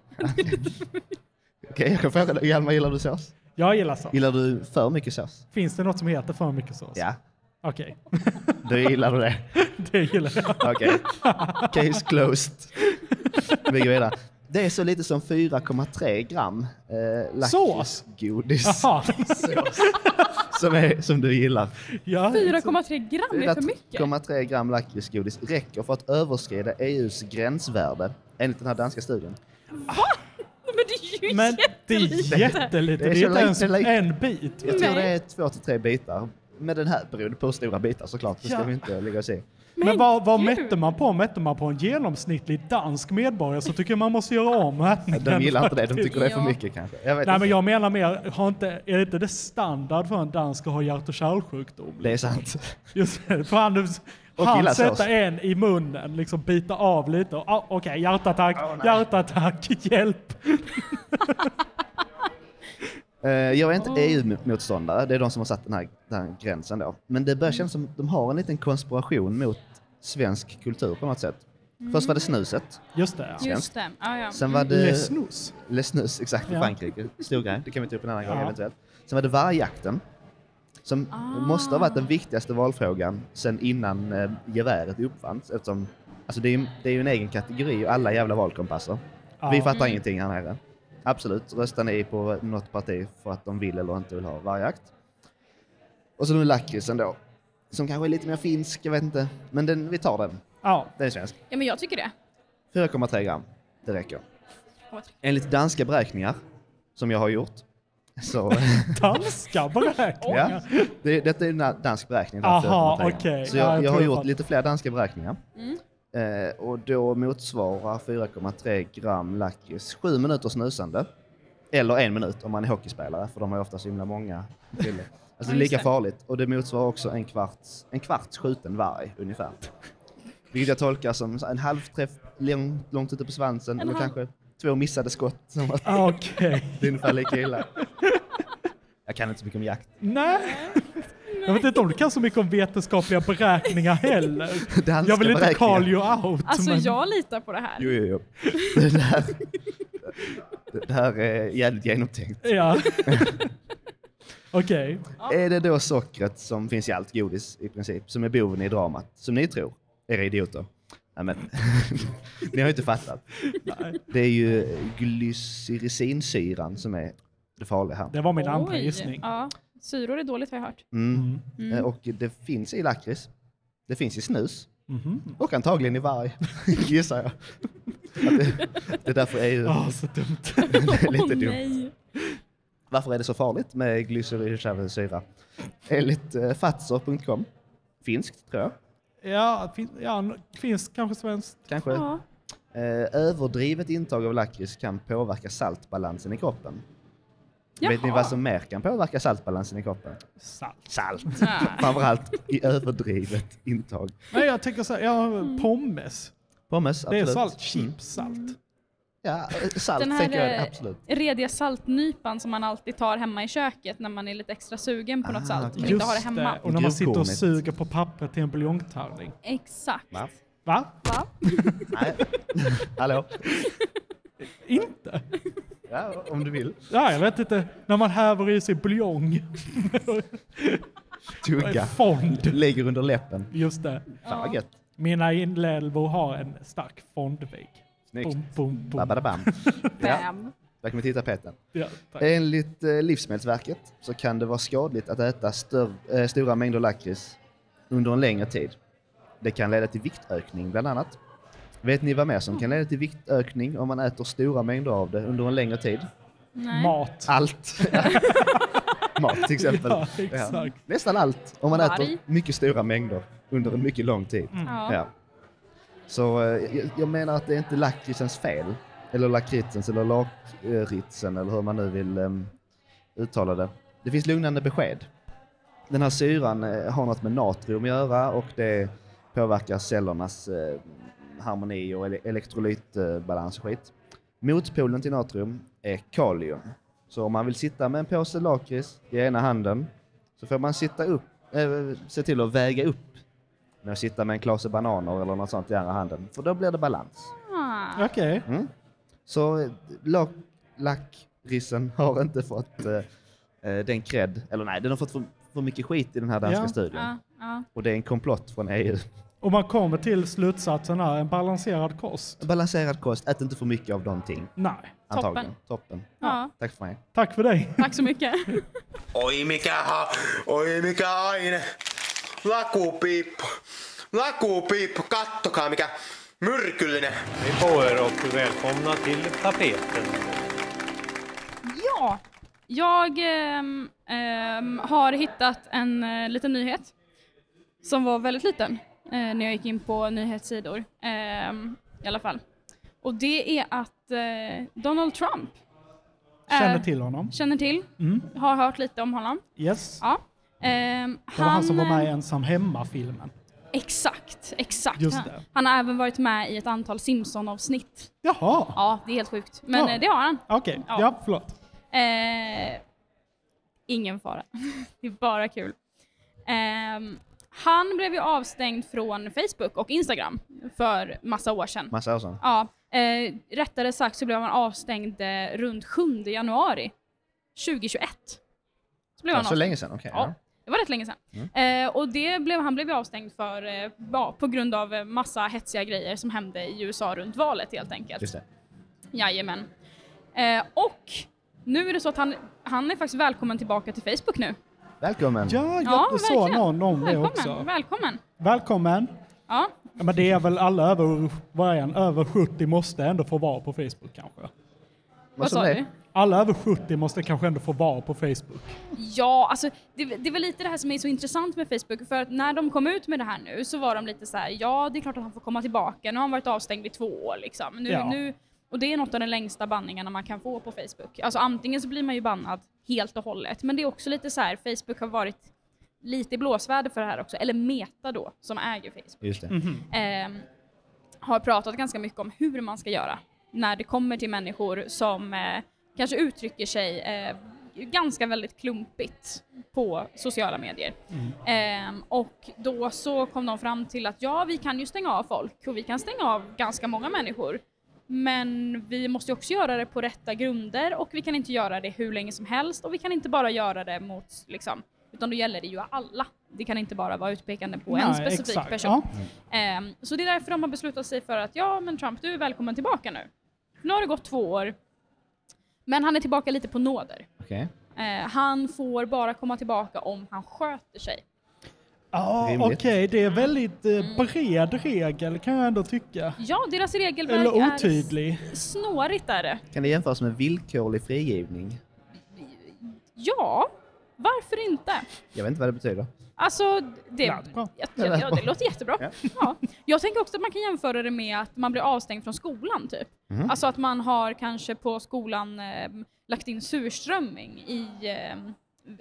Speaker 3: Okej, jag kan fråga dig. Hjalmar, gillar du sås?
Speaker 4: Jag gillar sås.
Speaker 3: Gillar du för mycket sås?
Speaker 4: Finns det något som heter för mycket sås?
Speaker 3: Ja,
Speaker 4: Okej,
Speaker 3: då gillar du det.
Speaker 4: det gillar jag.
Speaker 3: Okej. Case closed. Vi går vidare. Det är så lite som 4,3 gram eh,
Speaker 4: Sås?
Speaker 3: lakritsgodis
Speaker 4: Jaha.
Speaker 3: som, är- som du gillar.
Speaker 4: Ja.
Speaker 2: 4,3 gram det är för mycket.
Speaker 3: 4,3 gram lakritsgodis räcker för att överskrida EUs gränsvärde enligt den här danska studien.
Speaker 2: Men det är ju
Speaker 4: Men det är
Speaker 2: jättelite.
Speaker 4: jättelite.
Speaker 3: Det
Speaker 4: Det
Speaker 3: är
Speaker 4: är
Speaker 3: så
Speaker 4: inte ens
Speaker 3: lite, lite.
Speaker 4: en bit.
Speaker 3: Jag tror
Speaker 2: Nej.
Speaker 3: det är två till tre bitar. Med den här beroende på hur stora bitar såklart. Det ska
Speaker 4: Ja.
Speaker 3: vi inte lägga oss i.
Speaker 4: Men vad, vad
Speaker 2: gud.
Speaker 4: mätte man på? Mätte man på en genomsnittlig dansk medborgare så tycker jag man måste göra om mätningen.
Speaker 3: De gillar inte det. De tycker det är för
Speaker 2: Ja.
Speaker 3: mycket kanske. Jag vet
Speaker 4: Nej
Speaker 3: inte.
Speaker 4: men jag menar mer, har inte, är det inte det standard för en dansk att ha hjärt och kärlsjukdom?
Speaker 3: Det är sant.
Speaker 4: Just det, för han,
Speaker 3: Och gillar
Speaker 4: han
Speaker 3: sås.
Speaker 4: sätta en i munnen, liksom bita av lite och ah, okej, hjärtattack, hjärtattack, hjälp.
Speaker 3: Eh, Jag är inte EU-motståndare, det är de som har satt den här, den här gränsen då. Men det
Speaker 4: Mm.
Speaker 3: börjar kännas som att de har en liten konspiration mot svensk kultur på något sätt. Först var det snuset,
Speaker 4: Just det, ja.
Speaker 2: Just det. Ja, ja.
Speaker 3: sen var det...
Speaker 4: Le snus.
Speaker 3: Le snus, exakt, i
Speaker 4: Ja.
Speaker 3: Frankrike. Stor grej, det kan vi ta upp en annan gång
Speaker 4: Ja. Ah.
Speaker 3: eventuellt. Sen var det vargjakten, som måste ha varit den viktigaste valfrågan sen innan eh, geväret uppfanns. Eftersom, alltså det, är, ju- det är ju en egen kategori och alla jävla valkompasser.
Speaker 4: Ja. Mm.
Speaker 3: Vi fattar ingenting här nere. Absolut, röstar ni på något parti för att de vill eller inte vill ha vargjakt. Och så nu lakritsen då, som kanske är lite mer finsk, jag vet inte. Men den, vi tar den.
Speaker 4: Ja,
Speaker 3: Den är svensk.
Speaker 2: ja, men jag tycker det.
Speaker 3: 4,3 gram, det räcker.
Speaker 2: 4,3.
Speaker 3: Enligt danska beräkningar, som jag har gjort, så...
Speaker 4: danska
Speaker 3: ja,
Speaker 4: beräkningar.
Speaker 3: det, detta är en dansk beräkning. då,
Speaker 4: Aha,
Speaker 3: 4,3 gram.
Speaker 4: okej.
Speaker 3: Så
Speaker 4: Ja,
Speaker 3: jag,
Speaker 4: jag
Speaker 3: jag har
Speaker 4: tror
Speaker 3: gjort
Speaker 4: fan-
Speaker 3: lite fler danska beräkningar.
Speaker 13: Mm.
Speaker 3: Eh, och då motsvarar 4,3 gram lakrits 7 minuter snusande, Eller en minut om man är hockeyspelare, för de har ju ofta så himla många bilder.
Speaker 13: Ja,
Speaker 3: Alltså det är lika
Speaker 13: just det.
Speaker 3: farligt. Och det motsvarar också en kvarts, en kvarts skjuten varg ungefär. Vilket jag tolkar som en halvträff långt, långt ute på
Speaker 13: En
Speaker 3: svansen, eller
Speaker 13: halv-
Speaker 3: kanske två missade skott. Som var-
Speaker 4: Ah, okej.
Speaker 3: Det är ungefär lika illa. Jag kan inte så mycket om jakt.
Speaker 4: Nej. Jag vet inte om du kan så mycket om vetenskapliga beräkningar heller. Jag vill inte
Speaker 3: beräkningar.
Speaker 4: call you out.
Speaker 2: Alltså
Speaker 4: men-
Speaker 2: jag litar på det här.
Speaker 3: Jo, jo, jo. Det här, det här är jävligt genomtänkt.
Speaker 4: Ja. Okej.
Speaker 3: Är det då sockret som finns i allt godis i princip, som är boven i dramat, som ni tror? Era idioter. Nej, men, ni har ju inte fattat. Det är ju glycericinsyran som är det farliga här.
Speaker 4: Det var min andra
Speaker 2: Oj.
Speaker 4: gissning.
Speaker 2: Ja. Syror är dåligt har jag hört.
Speaker 3: Mm.
Speaker 2: Mm.
Speaker 3: Eh, Och det finns i lakrits. Det finns i snus.
Speaker 4: Mhm.
Speaker 3: Och antagligen i varg, gissar jag. Att det, det är därför EU...
Speaker 4: Ah, så dumt.
Speaker 3: det är lite
Speaker 4: Åh,
Speaker 3: dumt.
Speaker 4: nej.
Speaker 3: Varför är det så farligt med glycerinsyra? Enligt eh, fatser.com, finskt tror jag,
Speaker 4: Ja, fin, ja, finns kanske svenskt.
Speaker 3: kanske. Eh, överdrivet intag av lakrits kan påverka saltbalansen i kroppen. Vet ni
Speaker 4: Jaha.
Speaker 3: vad som mer kan påverka saltbalansen i kroppen?
Speaker 4: Salt.
Speaker 3: Salt!
Speaker 4: Ah.
Speaker 3: Framförallt i överdrivet intag.
Speaker 4: Nej, jag tänker så här, ja,
Speaker 2: Mm.
Speaker 4: pommes.
Speaker 3: Pommes,
Speaker 4: Det är
Speaker 3: absolut. Mm.
Speaker 4: salt, chips, salt.
Speaker 3: Ja, eh, salt
Speaker 2: Den
Speaker 3: tänker jag,
Speaker 2: här
Speaker 3: absolut.
Speaker 2: eh, rediga saltnypan som man alltid tar hemma i köket när man är lite extra sugen på
Speaker 3: Ah,
Speaker 2: något salt men inte har det
Speaker 4: Just
Speaker 2: hemma.
Speaker 4: det, Eh, och när man sitter och suger på pappret till en buljongtallning.
Speaker 2: Exakt.
Speaker 3: Va?
Speaker 4: Va?
Speaker 3: Nej. Hallå?
Speaker 4: Inte?
Speaker 3: Ja, om du vill.
Speaker 4: Ja, jag vet inte. När man häver i sig buljong.
Speaker 3: Tugga.
Speaker 4: Fond.
Speaker 3: Lägger under läppen.
Speaker 4: Just det.
Speaker 3: Fan vad gött.
Speaker 4: Mina inälvor har en stark fondvägg.
Speaker 3: Snyggt.
Speaker 4: Bum, bum, bum.
Speaker 3: Babadabam. Ja. Där kan vi titta Peter.
Speaker 4: Ja, tack.
Speaker 3: Enligt eh, Livsmedelsverket så kan det vara skadligt att äta stör, eh, stora mängder lakrits under en längre tid. Det kan leda till viktökning bland annat. Vet ni vad mer som kan leda till viktökning om man äter stora mängder av det under en längre tid?
Speaker 2: Nej.
Speaker 4: Mat.
Speaker 3: Allt. Mat till exempel.
Speaker 4: Ja, exakt.
Speaker 3: Nästan allt om man
Speaker 2: Varg.
Speaker 3: äter mycket stora mängder under en mycket lång tid.
Speaker 2: Mm. Ja.
Speaker 3: Så eh, jag, jag menar att det är inte lakritsens fel. Eller lakritsens eller lakritsen eller hur man nu vill em, uttala det. Det finns lugnande besked. Den här syran eh, har något med natrium att göra och det påverkar cellernas eh, harmoni och ele- elektrolytbalans och skit. Motpolen till natrium är kalium. Så om man vill sitta med en påse lakrits i ena handen så får man sitta upp, eh, se till att väga upp med att sitta med en klase bananer eller något sånt i andra handen. För då blir det balans.
Speaker 2: Ah.
Speaker 4: Okej.
Speaker 3: Mm. Så eh, lak, lakrisen har inte fått eh, eh, den cred, eller nej, den har fått för, för mycket skit i den här danska
Speaker 4: Ja.
Speaker 3: studien.
Speaker 2: Ja, ja.
Speaker 3: Och det är en komplott från E EU.
Speaker 4: Och man kommer till slutsatsen här, en balanserad kost.
Speaker 3: Balanserad kost, ät inte för mycket av någonting.
Speaker 4: Nej.
Speaker 3: Antagligen. Toppen.
Speaker 2: Ja.
Speaker 3: Tack för mig.
Speaker 4: Tack för dig.
Speaker 2: Tack så mycket.
Speaker 10: Oi mikä, ha, oi mikä aine. Lakupiippu. Lakupiippu, kattokaa mikä myrkyllinen.
Speaker 14: Vi på er och välkomna till tapeten.
Speaker 2: Ja, jag ehm, ehm, har hittat en eh, liten nyhet som var väldigt liten eh, när jag gick in på nyhetssidor ehm, i alla fall. Och det är att eh, Donald Trump är-
Speaker 4: Känner till honom.
Speaker 2: Känner till,
Speaker 4: Mm.
Speaker 2: har hört lite om honom.
Speaker 4: Yes.
Speaker 2: Ja. Ehm,
Speaker 4: Det var han som var med i
Speaker 2: eh,
Speaker 4: Ensam Hemma-filmen.
Speaker 2: Exakt, exakt.
Speaker 4: Just
Speaker 2: Han,
Speaker 4: det.
Speaker 2: han har även varit med i ett antal Simpson-avsnitt.
Speaker 4: Jaha,
Speaker 2: Ja, det är helt sjukt. Men
Speaker 4: Ja.
Speaker 2: eh, det har han.
Speaker 4: okej.
Speaker 2: Ja.
Speaker 4: Ja. förlåt.
Speaker 2: Eh, ingen fara. det är bara kul. Ehm, han blev ju avstängd från Facebook och Instagram för massa år sedan.
Speaker 3: Massa år sedan.
Speaker 2: Ja, eh, rättare sagt så blev han avstängd eh, runt 7 januari 2021. Så blev
Speaker 3: Ja,
Speaker 2: han
Speaker 3: så
Speaker 2: avstängd.
Speaker 3: länge sedan, okej.
Speaker 2: ja.
Speaker 3: ja. Mm.
Speaker 2: Det var rätt länge sedan. Eh, och det blev, han blev ju avstängd för, eh, ja, på grund av eh, massa hetsiga grejer som hände i USA runt valet helt enkelt.
Speaker 3: Just det.
Speaker 2: Jajamän. Eh, och nu är det så att han, han är faktiskt välkommen tillbaka till Facebook nu.
Speaker 3: Välkommen.
Speaker 4: Ja, jag såg
Speaker 2: verkligen.
Speaker 4: någon om det
Speaker 2: välkommen,
Speaker 4: också.
Speaker 2: Välkommen.
Speaker 4: Välkommen.
Speaker 2: Ja,
Speaker 4: Ja, men det är väl alla över, vad är en, över 70 måste ändå få vara på Facebook kanske?
Speaker 2: Vad sa sa du? du?
Speaker 4: Alla över 70 måste kanske ändå få vara på Facebook.
Speaker 2: ja alltså, det, det var lite det här som är så intressant med Facebook. För att när de kom ut med det här nu så var de lite så här, ja det är klart att han får komma tillbaka. Nu har han varit avstängd i två år liksom. Nu,
Speaker 4: Ja.
Speaker 2: nu, Och det är något av de längsta banningarna man kan få på Facebook. Alltså antingen så blir man ju bannad helt och hållet, men det är också lite så här, Facebook har varit lite i blåsväder för det här också, eller Meta då, som äger Facebook
Speaker 3: Just det.
Speaker 2: ehm, har pratat ganska mycket om hur man ska göra när det kommer till människor som eh, kanske uttrycker sig eh, ganska väldigt klumpigt på sociala medier.
Speaker 4: Mm.
Speaker 2: Ehm, och då så kom de fram till att ja, vi kan ju stänga av folk och vi kan stänga av ganska många människor. Men vi måste ju också göra det på rätta grunder och vi kan inte göra det hur länge som helst och vi kan inte bara göra det mot, liksom, utan då gäller det ju alla. Det kan inte bara vara utpekande på en
Speaker 4: Nej,
Speaker 2: specifik
Speaker 4: exakt,
Speaker 2: person.
Speaker 4: ja.
Speaker 2: Ehm, så det är därför de har beslutat sig för att ja, men Trump, du är välkommen tillbaka nu. Nu har det gått två år, men han är tillbaka lite på nåder.
Speaker 3: Okej.
Speaker 2: Eh, han får bara komma tillbaka om han sköter sig.
Speaker 4: Ja, okej,
Speaker 3: Rimligt.
Speaker 4: det är väldigt eh,
Speaker 2: Mm.
Speaker 4: bred regel kan jag ändå tycka.
Speaker 2: Ja, deras regelverk
Speaker 4: Eller
Speaker 2: är
Speaker 4: otydlig.
Speaker 2: s- snårigt. Är det.
Speaker 3: Kan det jämföras med villkorlig frigivning?
Speaker 2: Ja, varför inte?
Speaker 3: Jag vet inte vad det betyder.
Speaker 2: Alltså, det, Jag, jag, ja, det låter jättebra.
Speaker 3: Ja.
Speaker 2: Ja. Jag tänker också att man kan jämföra det med att man blir avstängd från skolan. Typ.
Speaker 3: Mhm.
Speaker 2: Alltså att man har kanske på skolan eh, lagt in surströmming i ehm,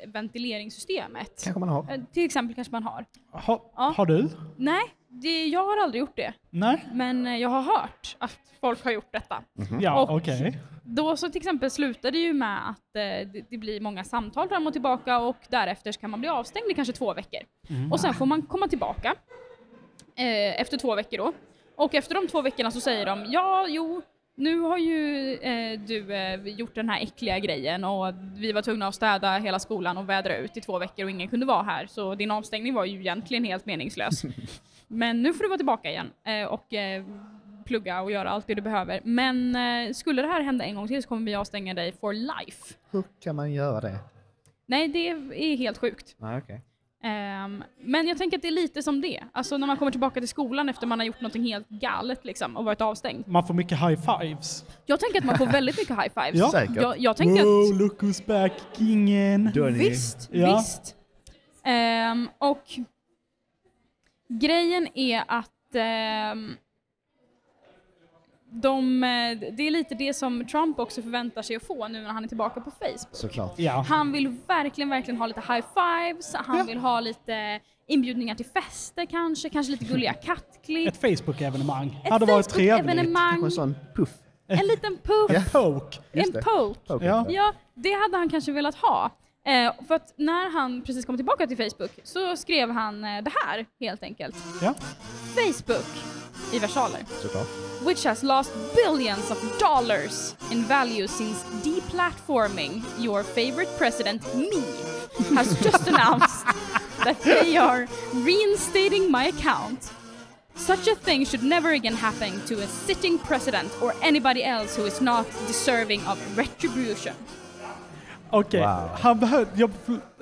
Speaker 2: ventileringssystemet.
Speaker 4: Kanske man har.
Speaker 2: Eh, till exempel kanske man har.
Speaker 4: Ha,
Speaker 2: Ja.
Speaker 4: Har du?
Speaker 2: Nej, det, jag har aldrig gjort det.
Speaker 4: Nej?
Speaker 2: Men eh, jag har hört att folk har gjort detta.
Speaker 4: Ja,
Speaker 2: Och
Speaker 4: okej.
Speaker 2: då så till exempel slutar det ju med att eh, det, det blir många samtal fram och tillbaka och därefter så kan man bli avstängd i kanske två veckor.
Speaker 15: Mm.
Speaker 2: Och sen får man komma tillbaka eh, efter två veckor då. Och efter de två veckorna så säger de ja, jo, nu har ju eh, du eh, gjort den här äckliga grejen och vi var tvungna att städa hela skolan och vädra ut i två veckor och ingen kunde vara här så din avstängning var ju egentligen helt meningslös. Men nu får du vara tillbaka igen eh, och eh, plugga och göra allt det du behöver. Men eh, skulle det här hända en gång till så kommer vi avstänga dig for life.
Speaker 3: Hur kan man göra det?
Speaker 2: Nej, det är helt sjukt.
Speaker 3: Nej, okej.
Speaker 2: Ehm, men jag tänker att det är lite som det. Alltså när man kommer tillbaka till skolan efter man har gjort någonting helt galet liksom, och varit avstängd.
Speaker 4: Man får mycket high fives.
Speaker 2: Jag tänker att man får väldigt mycket high fives.
Speaker 4: Ja.
Speaker 2: Jag, jag tänker att...
Speaker 4: wow, look who's back, kingen.
Speaker 2: Visst, visst. Ehm, och grejen är att ehm, de, eh, det är lite det som Trump också förväntar sig att få nu när han är tillbaka på Facebook.
Speaker 3: Såklart.
Speaker 2: Han vill verkligen, verkligen ha lite high fives, han vill ha lite inbjudningar till fester kanske, kanske lite gulliga kattklipp.
Speaker 4: Ett Facebook-evenemang. Hade varit trevligt.
Speaker 2: Facebook-evenemang. Kanske en
Speaker 3: sån puff.
Speaker 2: En liten puff.
Speaker 4: En poke.
Speaker 2: En poke.
Speaker 4: Ja.
Speaker 2: Ja, det hade han kanske velat ha. Eh, för att när han precis kom tillbaka till Facebook så skrev han eh, det här helt enkelt.
Speaker 4: Ja.
Speaker 2: Facebook i versaler.
Speaker 3: Såklart.
Speaker 2: Which has lost billions of dollars in value since deplatforming your favorite president, me, has just announced that they are reinstating my account. Such a thing should never again happen to a sitting president or anybody else who is not deserving of retribution.
Speaker 4: Okej, han behövde... Jag,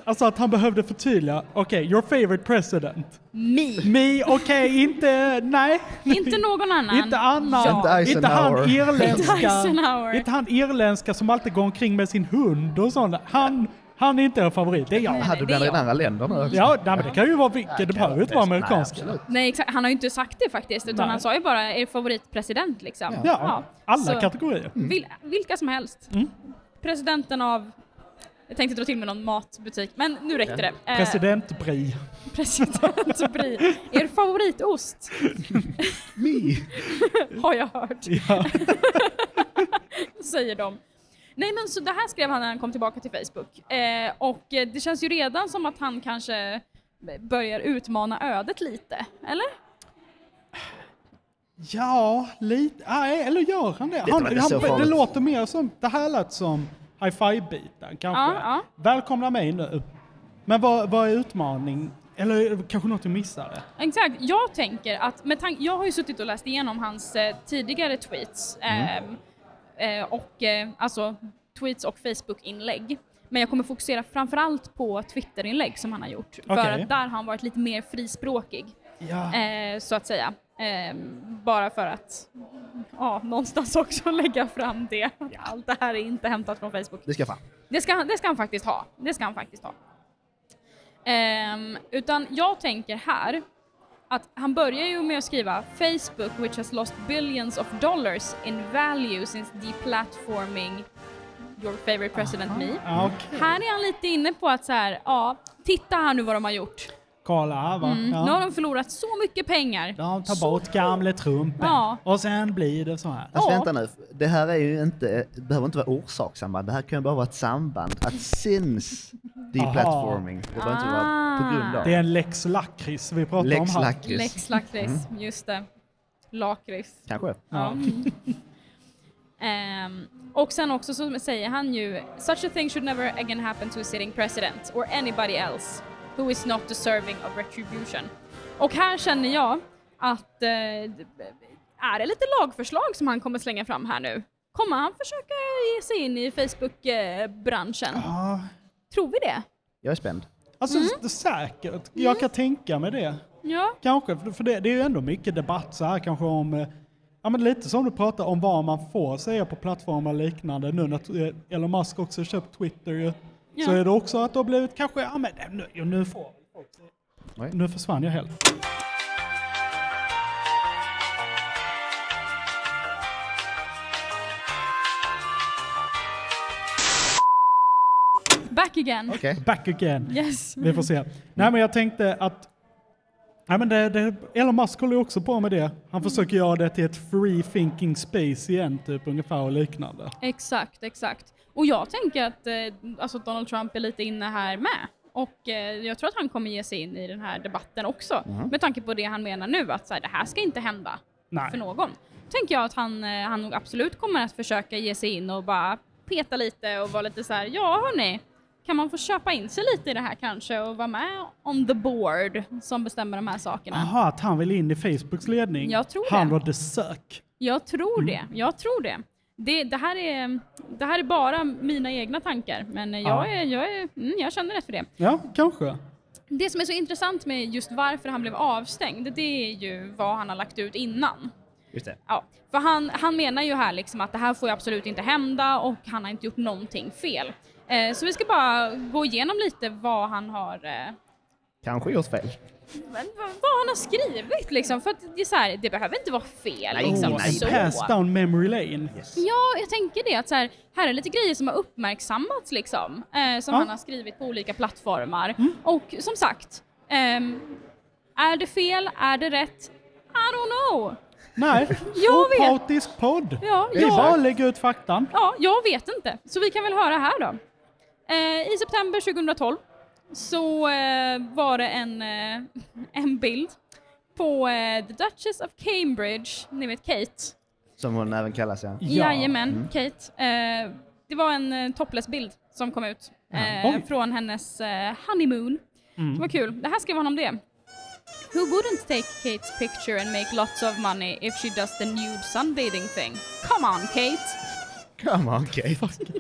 Speaker 4: alltså att han behövde förtydliga. Okej, your favorite president.
Speaker 2: Me.
Speaker 4: Me, okej, inte... Nej.
Speaker 2: Inte någon annan.
Speaker 4: Inte annan.
Speaker 2: Ja.
Speaker 4: Inte han
Speaker 2: Inte
Speaker 4: irländska.
Speaker 2: Eisenhower.
Speaker 4: Inte han irländska som alltid går omkring med sin hund och sånt. Han, han är inte en favorit, det är jag.
Speaker 2: Nej, nej, det är Hade du blandat jag. in andra
Speaker 3: länder nu också?
Speaker 4: Ja, nej, men det kan ju vara vilket.
Speaker 3: Nej,
Speaker 4: Det
Speaker 3: det
Speaker 4: behöver ju
Speaker 3: kan
Speaker 4: inte vara
Speaker 3: vara- nej,
Speaker 4: amerikanska.
Speaker 3: absolut.
Speaker 2: Nej, exakt. Han har ju inte sagt det faktiskt, utan
Speaker 4: Nej.
Speaker 2: han sa ju bara er favoritpresident liksom.
Speaker 4: Ja, alla kategorier. Mm.
Speaker 2: Vil, vilka som helst. Presidenten av... Jag tänkte dra till med någon matbutik, men nu räckte det. Eh,
Speaker 4: President Bri.
Speaker 2: president Brie. Er favoritost?
Speaker 3: Me.
Speaker 2: har jag hört.
Speaker 4: Ja.
Speaker 2: Säger de. Nej men så det här skrev han när han kom tillbaka till Facebook. Eh, och eh, det känns ju redan som att han kanske börjar utmana ödet lite, eller?
Speaker 4: Ja, lite. Nej, eller gör han det?
Speaker 15: Vet
Speaker 4: Han,
Speaker 15: du vad, det är
Speaker 4: han,
Speaker 15: så
Speaker 4: det,
Speaker 15: farligt.
Speaker 4: låter mer som, det här lät som high five-biten kanske.
Speaker 2: Ja, ja.
Speaker 4: Välkomna mig nu. Men vad, vad är utmaning? Eller kanske något jag missade?
Speaker 2: Exakt, jag tänker att, med tank- jag har ju suttit och läst igenom hans eh, tidigare tweets ehm, eh, och eh, alltså tweets och Facebook-inlägg. Men jag kommer fokusera framförallt på Twitter-inlägg som han har gjort. För
Speaker 15: Okej.
Speaker 2: att där har han varit lite mer frispråkig.
Speaker 15: Ja.
Speaker 2: Eh, så att säga. Ehm, bara för att ja, någonstans också lägga fram det. att Allt det här är inte hämtat från Facebook.
Speaker 3: Det ska jag fan.
Speaker 2: Det ska, han- det ska han faktiskt ha. Det ska han faktiskt ha. Ehm, utan jag tänker här att han börjar ju med att skriva Facebook which has lost billions of dollars in value since deplatforming your favorite president me.
Speaker 16: Ah, okej.
Speaker 2: Här är han lite inne på att så här, ja, titta här nu vad de har gjort.
Speaker 4: Kolla här va.
Speaker 2: Mm,
Speaker 4: Ja.
Speaker 2: Nu har de förlorat så mycket pengar.
Speaker 4: De tar bort gamle Trumpen.
Speaker 2: Ja.
Speaker 4: Och sen blir det så här.
Speaker 3: Fast Alltså, vänta nu, det här är ju inte, det behöver inte vara orsakssamband, det här kan ju bara vara ett samband. Att since deplatforming, det behöver inte vara
Speaker 2: Ah.
Speaker 3: på grund av.
Speaker 16: Det är en lex lakrits vi pratar
Speaker 3: Lex
Speaker 16: om här.
Speaker 3: lakrits.
Speaker 2: Lex lakrits, just det. Lakrits.
Speaker 3: Kanske.
Speaker 2: Ja. Ehm, och sen också så säger han ju “Such a thing should never again happen to a sitting president or anybody else who is not deserving of retribution”. Och här känner jag att eh, är det lite lagförslag som han kommer slänga fram här nu? Kommer han försöka ge sig in i Facebook-branschen? Tror vi det?
Speaker 3: Jag är spänd.
Speaker 4: Alltså
Speaker 2: Mm.
Speaker 4: s- säkert. Jag kan tänka mig det.
Speaker 2: Ja.
Speaker 4: Kanske, för för det, det är ju ändå mycket debatt så här kanske om eh, Ja men lite som du pratar om vad man får säga på plattformar och liknande nu när eh, Elon Musk också köpt Twitter ju. Så
Speaker 16: Ja.
Speaker 4: är det också att det har blivit kanske, ja men nu, nu får Nu försvann jag helt.
Speaker 2: Back again!
Speaker 4: Back again.
Speaker 2: Yes.
Speaker 4: Vi får se. Nej men jag tänkte att Nej, men det, det, Elon Musk håller ju också på med det.
Speaker 2: Mm.
Speaker 4: Han försöker göra det till ett free thinking space igen, typ ungefär och liknande.
Speaker 2: Exakt, exakt. Och jag tänker att eh, alltså Donald Trump är lite inne här med. Och eh, jag tror att han kommer ge sig in i den här debatten också.
Speaker 4: Mhm.
Speaker 2: Med tanke på det han menar nu, att så här, det här ska inte hända
Speaker 4: Nej.
Speaker 2: för någon. tänker jag att han, eh, han nog absolut kommer att försöka ge sig in och bara peta lite och vara lite så här, ja hörni, kan man få köpa in sig lite i det här kanske och vara med on the board som bestämmer de här sakerna?
Speaker 4: Jaha, att han vill in i Facebooks ledning.
Speaker 2: Jag tror
Speaker 4: han
Speaker 2: det.
Speaker 4: var the sök.
Speaker 2: Jag tror det. Jag tror det. Det, det, här är, det här är bara mina egna tankar, men jag,
Speaker 4: Ja.
Speaker 2: är, jag, är, mm, jag känner rätt för det.
Speaker 4: Ja, kanske.
Speaker 2: Det som är så intressant med just varför han blev avstängd, det är ju vad han har lagt ut innan.
Speaker 3: Just det.
Speaker 2: Ja, för han, han menar ju här liksom att det här får ju absolut inte hända och han har inte gjort någonting fel. Eh, så vi ska bara gå igenom lite vad han har eh,
Speaker 3: Kanske gjort fel.
Speaker 2: men v- vad han har skrivit liksom, för att det är så här, det behöver inte vara fel liksom.
Speaker 4: Oh, en
Speaker 2: så.
Speaker 4: pass down memory lane.
Speaker 2: Ja, jag tänker det. Att så här, här är lite grejer som har uppmärksammats liksom, eh, som
Speaker 4: Ja.
Speaker 2: han har skrivit på olika plattformar. Och som sagt, ehm, är det fel? Är det rätt? I don't know.
Speaker 4: Nej,
Speaker 2: Jag vet.
Speaker 4: opartisk podd.
Speaker 2: Ja,
Speaker 4: Vi
Speaker 2: ja.
Speaker 4: bara lägger ut faktan.
Speaker 2: Ja, jag vet inte. Så vi kan väl höra här då. Eh, I september 2012 så eh, var det en, eh, en bild på eh, The Duchess of Cambridge, ni vet Kate.
Speaker 3: Som hon även kallas ja.
Speaker 2: Jajamän,
Speaker 3: Mm.
Speaker 2: Kate. Eh, det var en eh, topless-bild som kom ut eh,
Speaker 3: Oj.
Speaker 2: från hennes eh, honeymoon.
Speaker 4: Mm.
Speaker 2: Det var kul. Det här skrev han om det. Who wouldn't take Kate's picture and make lots of money if she does the nude sunbathing thing? Come on Kate!
Speaker 3: Come on Kate.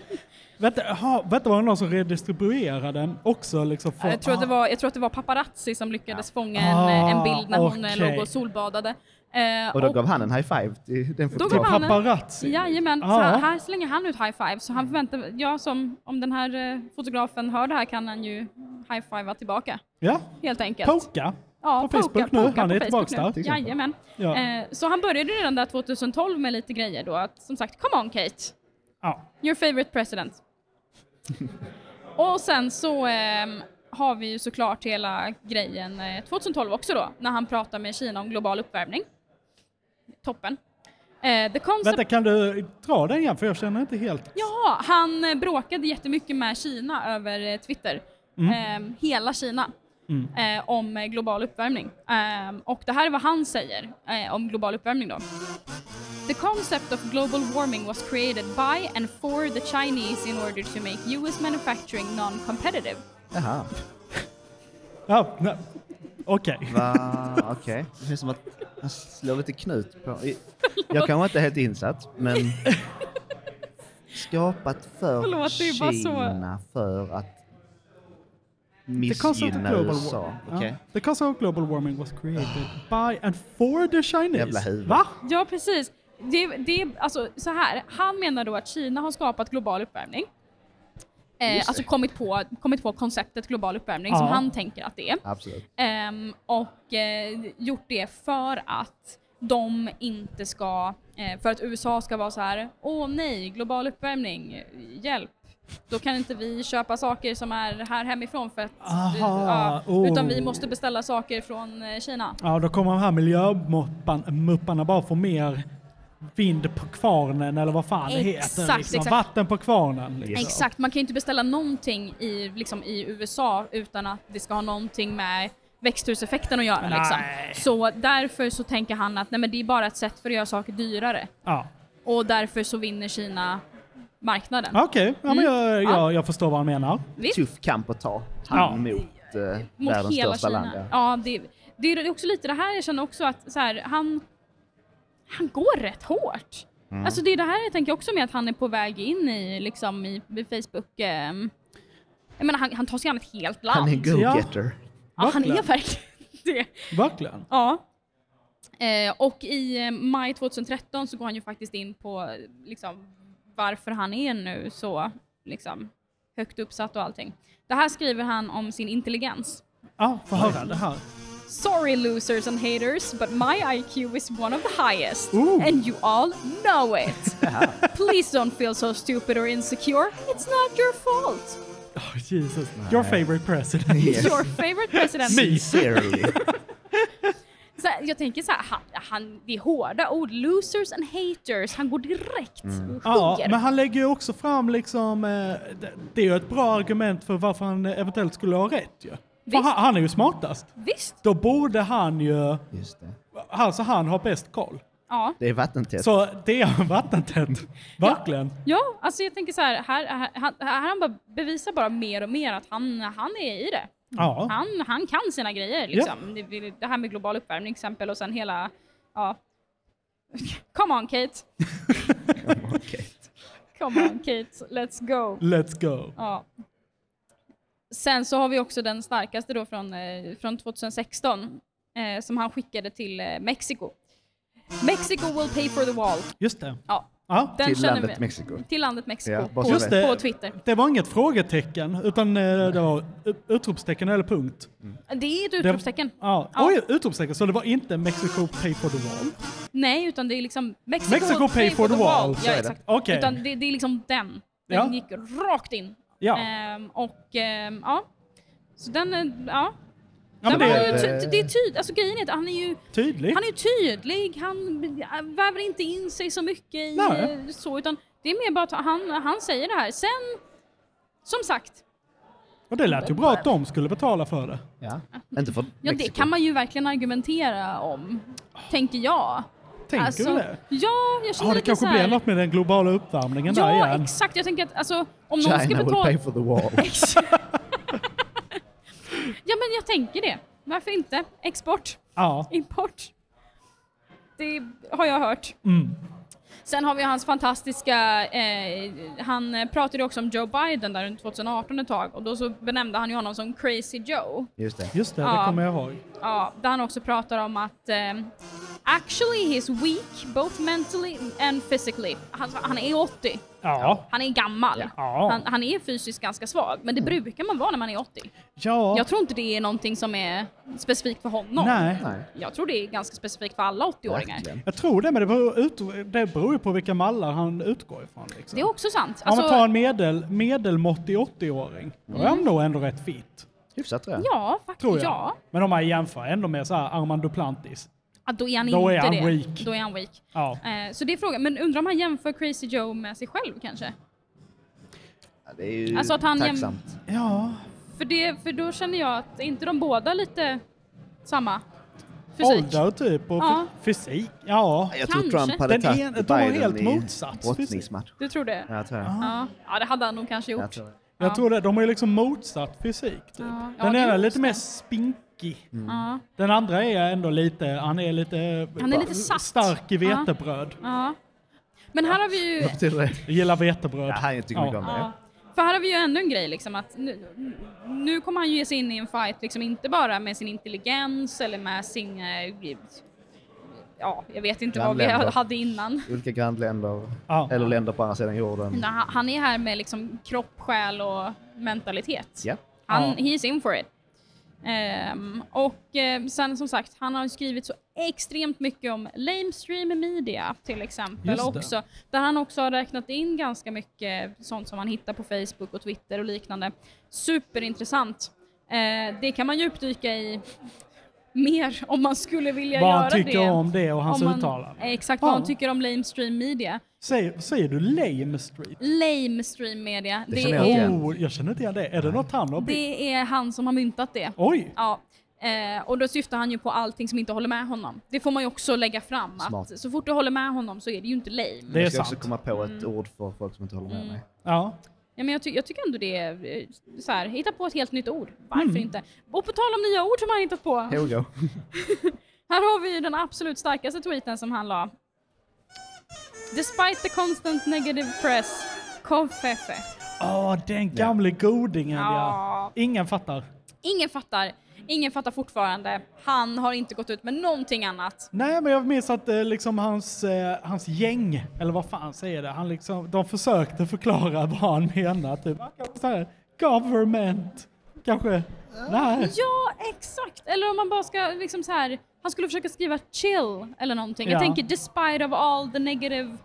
Speaker 4: Vänta, aha, vänta, var det någon som redistribuerade den också? Liksom, för,
Speaker 2: Jag tror, att det
Speaker 4: ah,
Speaker 2: var, jag tror att det var paparazzi som lyckades fånga en,
Speaker 4: Ah,
Speaker 2: en bild när hon eh,
Speaker 4: okej.
Speaker 2: låg och solbadade. Eh,
Speaker 3: Och då gav han en high five till den
Speaker 2: Då gav han en-
Speaker 3: fotografen.
Speaker 2: Jajamän, så
Speaker 4: Ah.
Speaker 3: Ja.
Speaker 2: här, här slänger han ut high five. Så han
Speaker 4: Mm.
Speaker 2: förväntar, jag som, om den här eh, fotografen hör det här kan han ju high fivea tillbaka.
Speaker 4: Ja,
Speaker 2: Helt enkelt.
Speaker 4: Poka.
Speaker 2: Ja,
Speaker 4: på Facebook nu. Han
Speaker 2: på
Speaker 4: är
Speaker 2: Facebook
Speaker 4: tillbaks där.
Speaker 2: nu. Jajamän.
Speaker 4: Ja.
Speaker 2: Eh, så han började redan där 2012 med lite grejer då. Att, som sagt, come on Kate.
Speaker 4: Ja.
Speaker 2: Your favorite president. Och sen så ehm, har vi ju såklart hela grejen eh, 2012 också då, när han pratar med Kina om global uppvärmning. Toppen. Eh, the concept...
Speaker 4: Vänta, kan du dra den igen? För jag känner inte helt...
Speaker 2: Ja, han eh, bråkade jättemycket med Kina över eh, Twitter.
Speaker 4: Mm.
Speaker 2: Ehm, hela Kina.
Speaker 4: Mm.
Speaker 2: Eh, om eh, global uppvärmning. Ehm, och det här är vad han säger eh, om global uppvärmning då. The concept of global warming was created by and for the Chinese in order to make US manufacturing non-competitive.
Speaker 3: Jaha.
Speaker 4: Ja, nej. Okej.
Speaker 3: Va? Ah, Okej. Det känns som att han slår lite knut på... i- Jag kanske inte är helt insatt, men... Skapat för
Speaker 2: Förlåt, det är bara så-
Speaker 3: Kina för att
Speaker 4: The concept of
Speaker 3: missgynna
Speaker 4: global
Speaker 3: USA.
Speaker 4: war-
Speaker 3: Okej.
Speaker 4: ja. The concept of global warming was created by and for the Chinese.
Speaker 3: Jävla huvud.
Speaker 4: Va?
Speaker 2: Ja, precis. Det, det, alltså, så här. Han menar då att Kina har skapat global uppvärmning. Eh, alltså kommit på, kommit på konceptet global uppvärmning som
Speaker 3: Ja.
Speaker 2: han tänker att det är.
Speaker 3: Absolut.
Speaker 2: Ehm, och eh, gjort det för att de inte ska, eh, för att USA ska vara så här, åh nej, global uppvärmning, hjälp. Då kan inte vi köpa saker som är här hemifrån för att, eh,
Speaker 4: Aha,
Speaker 2: ja, utan
Speaker 4: oh.
Speaker 2: vi måste beställa saker från eh, Kina.
Speaker 4: Ja, då kommer de här miljömupparna bara få mer vind på kvarnen eller vad fan det heter.
Speaker 2: Exakt,
Speaker 4: Liksom.
Speaker 2: exakt.
Speaker 4: Vatten på kvarnen. Liksom.
Speaker 2: Exakt, man kan ju inte beställa någonting i, liksom, i USA utan att det ska ha någonting med växthuseffekten att göra. Liksom.
Speaker 4: Nej.
Speaker 2: Så därför så tänker han att nej, men det är bara ett sätt för att göra saker dyrare.
Speaker 4: Ja.
Speaker 2: Och därför så vinner Kina marknaden.
Speaker 4: Okej, ja,
Speaker 2: Mm.
Speaker 4: men jag, jag, jag förstår vad han menar.
Speaker 2: Visst.
Speaker 3: Tuff kamp att ta. Han
Speaker 4: Ja.
Speaker 3: mot, eh,
Speaker 2: Mot
Speaker 3: världens
Speaker 2: hela
Speaker 3: största
Speaker 2: Kina.
Speaker 3: land. ja.
Speaker 2: Ja, det, det är också lite det här jag känner också att så här, han, han går rätt hårt.
Speaker 4: Mm.
Speaker 2: Alltså det är det här jag tänker också med att han är på väg in i, liksom, i, i Facebook. ehm, jag menar han, han tar sig an ett helt land.
Speaker 3: Han är en go-getter.
Speaker 2: Ja, han är
Speaker 3: Verkligen.
Speaker 2: verkligen det.
Speaker 4: Verkligen.
Speaker 2: Ja. Eh, och i eh, maj 2013 så går han ju faktiskt in på eh, liksom, varför han är nu så liksom, högt uppsatt och allting. Det här skriver han om sin intelligens.
Speaker 4: Ja, få höra det här.
Speaker 2: Sorry losers and haters, but my IQ is one of the highest. And you all know it. Please don't feel so stupid or insecure. It's not your fault.
Speaker 4: Oh, Jesus. Your favorite president.
Speaker 2: Your favorite president.
Speaker 4: Sincerely.
Speaker 2: Så här, jag tänker så här, han, han, det är hårda ord. Losers and haters. Han går direkt och
Speaker 4: Ja,
Speaker 2: hugger.
Speaker 4: men han lägger ju också fram liksom, eh, det- det är ju ett bra argument för varför han eventuellt skulle ha rätt ju. För
Speaker 2: Visst.
Speaker 4: han, han är ju smartast.
Speaker 2: Visst.
Speaker 4: Då borde han ju,
Speaker 3: Just det.
Speaker 4: alltså han har bäst koll.
Speaker 2: Ja.
Speaker 3: Det är vattentätt.
Speaker 4: Så det är vattentätt. Verkligen.
Speaker 2: ja, alltså jag tänker så här, här, här, här, här han bara bevisar bara mer och mer att han, han är i det.
Speaker 4: Ja.
Speaker 2: Han, han kan sina grejer. Liksom. Det, det här med global uppvärmning till exempel och sen hela, ja. Come on Kate! Come on Kate, let's go!
Speaker 4: Let's go.
Speaker 2: Ja. Sen så har vi också den starkaste då från, eh, från 2016 eh, som han skickade till eh, Mexiko. Mexico will pay for the wall.
Speaker 4: Just det.
Speaker 2: Ja.
Speaker 4: Ja.
Speaker 2: Den
Speaker 4: Till
Speaker 2: känner
Speaker 4: landet
Speaker 2: vi.
Speaker 4: Mexiko.
Speaker 2: Till landet Mexiko.
Speaker 4: Ja, bara
Speaker 2: på,
Speaker 4: så vi vet.
Speaker 2: på Twitter.
Speaker 4: Det var inget frågetecken, utan eh, det var ut- utropstecken eller punkt.
Speaker 2: Det är ett utropstecken.
Speaker 4: Det, ja.
Speaker 2: Ja.
Speaker 4: Oj, utropstecken. Så det var inte Mexico pay for the wall.
Speaker 2: Nej, utan det är liksom Mexico,
Speaker 4: Mexico
Speaker 2: will
Speaker 4: pay for the wall. Så
Speaker 2: Ja,
Speaker 4: är det.
Speaker 2: exakt.
Speaker 4: Okej.
Speaker 2: Utan det, det är liksom den. Den
Speaker 4: Ja.
Speaker 2: gick rakt in.
Speaker 4: Ja.
Speaker 2: Ehm, och ehm, ja, så den, är- ja.
Speaker 4: Ja,
Speaker 2: Den
Speaker 4: men det-
Speaker 2: var ju ty- det är tydligt, alltså grejen är att han är ju
Speaker 4: Tydligt.
Speaker 2: Han är ju tydlig, han väver inte in sig så mycket i
Speaker 4: Nej.
Speaker 2: eh, så, utan det är mer bara att han, han säger det här. Sen, som sagt,
Speaker 4: Och det lät ju bra att de skulle betala för det.
Speaker 3: Ja, inte för
Speaker 2: ja, det kan man ju verkligen argumentera om, tänker jag.
Speaker 4: Tänker du det?
Speaker 2: Ja, jag känner
Speaker 4: Ja, det
Speaker 2: Alltså, lite
Speaker 4: kanske
Speaker 2: så här,
Speaker 4: blir något med den globala uppvärmningen där
Speaker 2: Ja,
Speaker 4: igen.
Speaker 2: exakt. Jag tänker att alltså, om någon ska
Speaker 3: will
Speaker 2: betala...
Speaker 3: pay for the wall.
Speaker 2: Ja, men jag tänker det. Varför inte? Export,
Speaker 4: Ja.
Speaker 2: import. Det har jag hört.
Speaker 4: Mm.
Speaker 2: Sen har vi hans fantastiska, eh, han eh, pratade ju också om Joe Biden där runt 2018 ett tag och då så benämnde han ju honom som Crazy Joe.
Speaker 3: Just det.
Speaker 4: Just det,
Speaker 2: Ja.
Speaker 4: det kommer jag ihåg.
Speaker 2: Ja, där han också pratar om att eh, actually he's weak both mentally and physically. Han, han är 80.
Speaker 4: Ja.
Speaker 2: Han är gammal. Han, han är fysiskt ganska svag, men det brukar man vara när man är 80.
Speaker 4: Mm. Ja.
Speaker 2: Jag tror inte det är någonting som är specifikt för honom.
Speaker 4: Nej. Nej.
Speaker 2: Jag tror det är ganska specifikt för alla 80-åringar.
Speaker 4: Jag tror det, men det beror, ut, det beror ju på vilka mallar han utgår ifrån. Liksom.
Speaker 2: Det är också sant. Alltså,
Speaker 4: Om man tar en medel, medelmåttig 80-åring, då är han nog ändå rätt fit.
Speaker 3: Hyfsat
Speaker 2: Ja, faktiskt.
Speaker 4: Tror jag.
Speaker 2: Mm. Ja.
Speaker 4: Men om man jämför ändå med så här Armand Duplantis.
Speaker 2: Ja, då är han
Speaker 4: Då är
Speaker 2: inte
Speaker 4: han
Speaker 2: det.
Speaker 4: weak.
Speaker 2: Då är han weak.
Speaker 4: Ja.
Speaker 2: Eh, så det är frågan. Men undrar om han jämför Crazy Joe med sig själv kanske?
Speaker 3: Ja, det är ju
Speaker 2: Alltså att han jäm-
Speaker 3: tacksamt.
Speaker 4: Ja.
Speaker 2: För, det, för då känner jag att är inte de båda lite samma fysik?
Speaker 4: Ålder typ och
Speaker 2: Ja.
Speaker 4: fy- fysik. Ja.
Speaker 3: Jag tror Trump hade
Speaker 4: Den en-
Speaker 3: tagit
Speaker 4: de har
Speaker 3: Biden
Speaker 4: helt
Speaker 3: i
Speaker 4: motsatt fysik.
Speaker 3: brottningsmatch.
Speaker 2: Du tror det?
Speaker 3: Ja, jag tror det.
Speaker 2: Ja. ja, det hade han nog kanske gjort.
Speaker 3: Jag tror det.
Speaker 4: Jag tror det. De har ju liksom motsatt fysik. Typ.
Speaker 2: Ja. Ja,
Speaker 4: Den
Speaker 2: det
Speaker 4: ena
Speaker 2: är
Speaker 4: är lite mer spinkig.
Speaker 3: Mm.
Speaker 2: Ja.
Speaker 4: Den andra är ändå lite, han är lite,
Speaker 2: Han är lite satt.
Speaker 4: stark i
Speaker 2: Ja.
Speaker 4: vetebröd.
Speaker 2: Ja. Men här har vi ju...
Speaker 4: Jag gillar vetebröd.
Speaker 3: han tycker mycket om det.
Speaker 2: Ja. För här har vi ju ännu en grej liksom att nu, nu kommer han ju ge sig in i en fight liksom inte bara med sin intelligens eller med sin eh, ja, jag vet inte vad vi
Speaker 3: Grannländer.
Speaker 2: hade innan.
Speaker 3: Olika grannländer, eller länder på andra sidan jorden.
Speaker 2: Nej, Han han är här med liksom kropp, själ och mentalitet.
Speaker 3: Ja.
Speaker 2: Han,
Speaker 3: Ja.
Speaker 2: He's in for it. Ehm, och eh, sen som sagt, han har ju skrivit så extremt mycket om lamestream media till exempel
Speaker 17: Just det.
Speaker 2: också. Där han också har räknat in ganska mycket sånt som man hittar på Facebook och Twitter och liknande. Superintressant. Eh, det kan man djupdyka i mer om man skulle vilja
Speaker 4: Vad
Speaker 2: göra
Speaker 4: han
Speaker 2: det.
Speaker 4: tycker om det och hans
Speaker 2: Om man-
Speaker 4: uttalanden.
Speaker 2: Exakt, vad
Speaker 4: Ja.
Speaker 2: han tycker om lamestream media.
Speaker 4: Säger, säger du lame street?
Speaker 2: Lame stream media. Det,
Speaker 4: jag,
Speaker 2: är,
Speaker 4: oh, jag känner inte igen det. Är det något han har byggt?
Speaker 2: det är han som har myntat det.
Speaker 4: Oj.
Speaker 2: Ja. Eh, och då syftar han ju på allting som inte håller med honom. Det får man ju också lägga fram.
Speaker 3: Smart.
Speaker 2: Att så fort du håller med honom så är det ju inte lame.
Speaker 3: Det jag ska också komma på ett ord för folk som inte håller med
Speaker 2: Mm.
Speaker 3: mig.
Speaker 4: Ja.
Speaker 2: Ja, men jag, ty- jag tycker ändå det är eh, så här, hitta på ett helt nytt ord. Varför inte? Och på tal om nya ord som han hittat på.
Speaker 3: Here we go.
Speaker 2: Här har vi ju den absolut starkaste tweeten som han la. Despite the constant negative press, konfefe.
Speaker 4: Ja, den gamle godingen ja. Ingen fattar.
Speaker 2: Ingen fattar. Ingen fattar fortfarande. Han har inte gått ut med någonting annat.
Speaker 4: Nej, men jag minns att eh, liksom hans, eh, hans gäng, eller vad fan säger det, han liksom, de försökte förklara vad han menar. Typ. Han kanske så här, government, kanske. Nej.
Speaker 2: Ja, exakt. Eller om man bara ska liksom så här. Han skulle försöka skriva chill eller någonting.
Speaker 4: Ja.
Speaker 2: Jag tänker despite of all the negative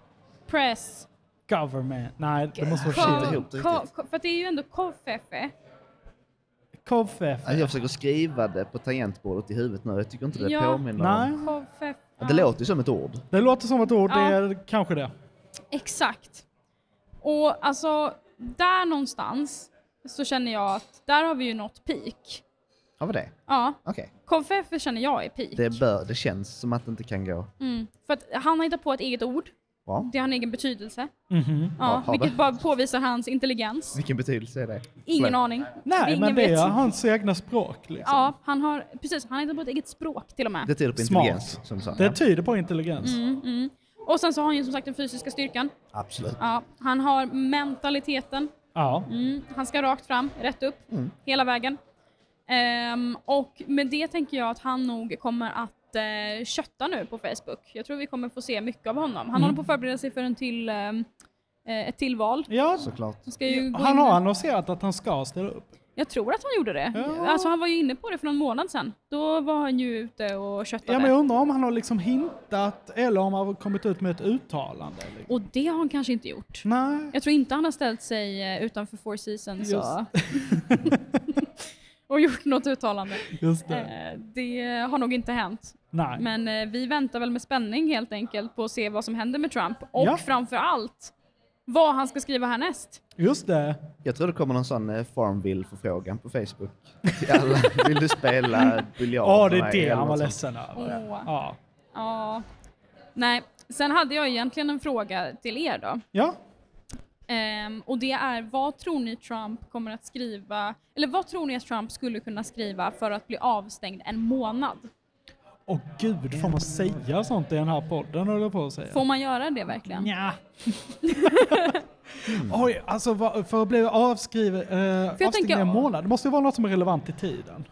Speaker 2: press.
Speaker 4: Government. Nej, det måste
Speaker 2: Ko-
Speaker 4: vara fel.
Speaker 2: ko- ko- för att det är ju ändå konfefe.
Speaker 4: Koffe.
Speaker 3: Nej, Alltså, Jag försöker skriva det på tangentbordet i huvudet nu. Jag tycker inte det påminner om...
Speaker 4: Nej.
Speaker 2: konfefe.
Speaker 3: Ja, Det låter ju som ett ord.
Speaker 4: Det låter som ett ord,
Speaker 2: Ja.
Speaker 4: det är kanske det.
Speaker 2: Exakt. Och alltså, där någonstans så känner jag att där har vi ju nått peak.
Speaker 3: Har vi det?
Speaker 2: Ja.
Speaker 3: Okej.
Speaker 2: Konfefe känner jag är peak.
Speaker 3: Det, bör, det känns som att det inte kan gå
Speaker 2: Mm. För att han har hittat på ett eget ord.
Speaker 3: bra.
Speaker 2: Det har en egen betydelse.
Speaker 3: Mhm. Ja,
Speaker 2: Ja,
Speaker 3: har
Speaker 2: vilket
Speaker 3: det.
Speaker 2: bara påvisar hans intelligens.
Speaker 3: Vilken betydelse är det?
Speaker 2: Ingen
Speaker 3: Förlåt.
Speaker 2: aning.
Speaker 4: Nej,
Speaker 2: Ingen
Speaker 4: men det
Speaker 2: vet.
Speaker 4: är hans egna språk. Liksom.
Speaker 2: Ja, han har, precis, han har hittat på ett eget språk till och med.
Speaker 3: Det tyder på
Speaker 4: Smart.
Speaker 3: intelligens, som sagt.
Speaker 4: Det tyder på intelligens.
Speaker 2: Mm, mm. Och sen så har han ju som sagt den fysiska styrkan.
Speaker 3: Absolut.
Speaker 2: Ja, han har mentaliteten.
Speaker 4: Ja.
Speaker 2: Mm, han ska rakt fram, rätt upp,
Speaker 4: Mm.
Speaker 2: hela vägen. Ehm, och med det tänker jag att han nog kommer att eh, kötta nu på Facebook. Jag tror vi kommer få se mycket av honom. Han
Speaker 4: Mm.
Speaker 2: håller på att förbereda sig för en till, ehm, eh, ett till val.
Speaker 4: Ja,
Speaker 3: Såklart.
Speaker 2: Han ska ju gå
Speaker 4: Han
Speaker 2: in-
Speaker 4: har annonserat att han ska ställa upp.
Speaker 2: Jag tror att han gjorde det. Alltså han var ju inne på det för någon månad sedan. Då var han ju ute och köttade.
Speaker 4: Ja, men jag undrar om han har liksom hintat eller om han har kommit ut med ett uttalande. Liksom.
Speaker 2: Och det har han kanske inte gjort.
Speaker 4: Nej.
Speaker 2: Jag tror inte han har ställt sig eh, utanför Four Seasons
Speaker 4: Just.
Speaker 2: och, och gjort något uttalande.
Speaker 4: Just det.
Speaker 2: Eh, det har nog inte hänt.
Speaker 4: Nej.
Speaker 2: Men eh, vi väntar väl med spänning helt enkelt på att se vad som händer med Trump. Och
Speaker 3: Ja.
Speaker 2: framför allt vad han ska skriva härnäst.
Speaker 4: Just det.
Speaker 3: Jag tror det kommer någon sån eh, Farmville-förfrågan på Facebook. Till alla. Vill du spela biljard
Speaker 4: Ja, det
Speaker 3: med
Speaker 4: är
Speaker 3: mig
Speaker 4: det
Speaker 3: eller
Speaker 4: han var
Speaker 3: något sånt?
Speaker 4: ledsen över.
Speaker 2: Åh.
Speaker 4: Ja.
Speaker 2: Ja. Nej, sen hade jag egentligen en fråga till er då.
Speaker 4: Ja.
Speaker 2: Ehm, och det är, vad tror ni Trump kommer att skriva, eller vad tror ni att Trump skulle kunna skriva för att bli avstängd en månad?
Speaker 4: Åh gud, får man säga sånt i den här podden höll jag på att säga.
Speaker 2: Får man göra det verkligen?
Speaker 4: Ja. Oj, alltså vad- för att bli avskriven, eh,
Speaker 2: tänker-
Speaker 4: avstängd i en månad, det måste ju vara något som är relevant i tiden.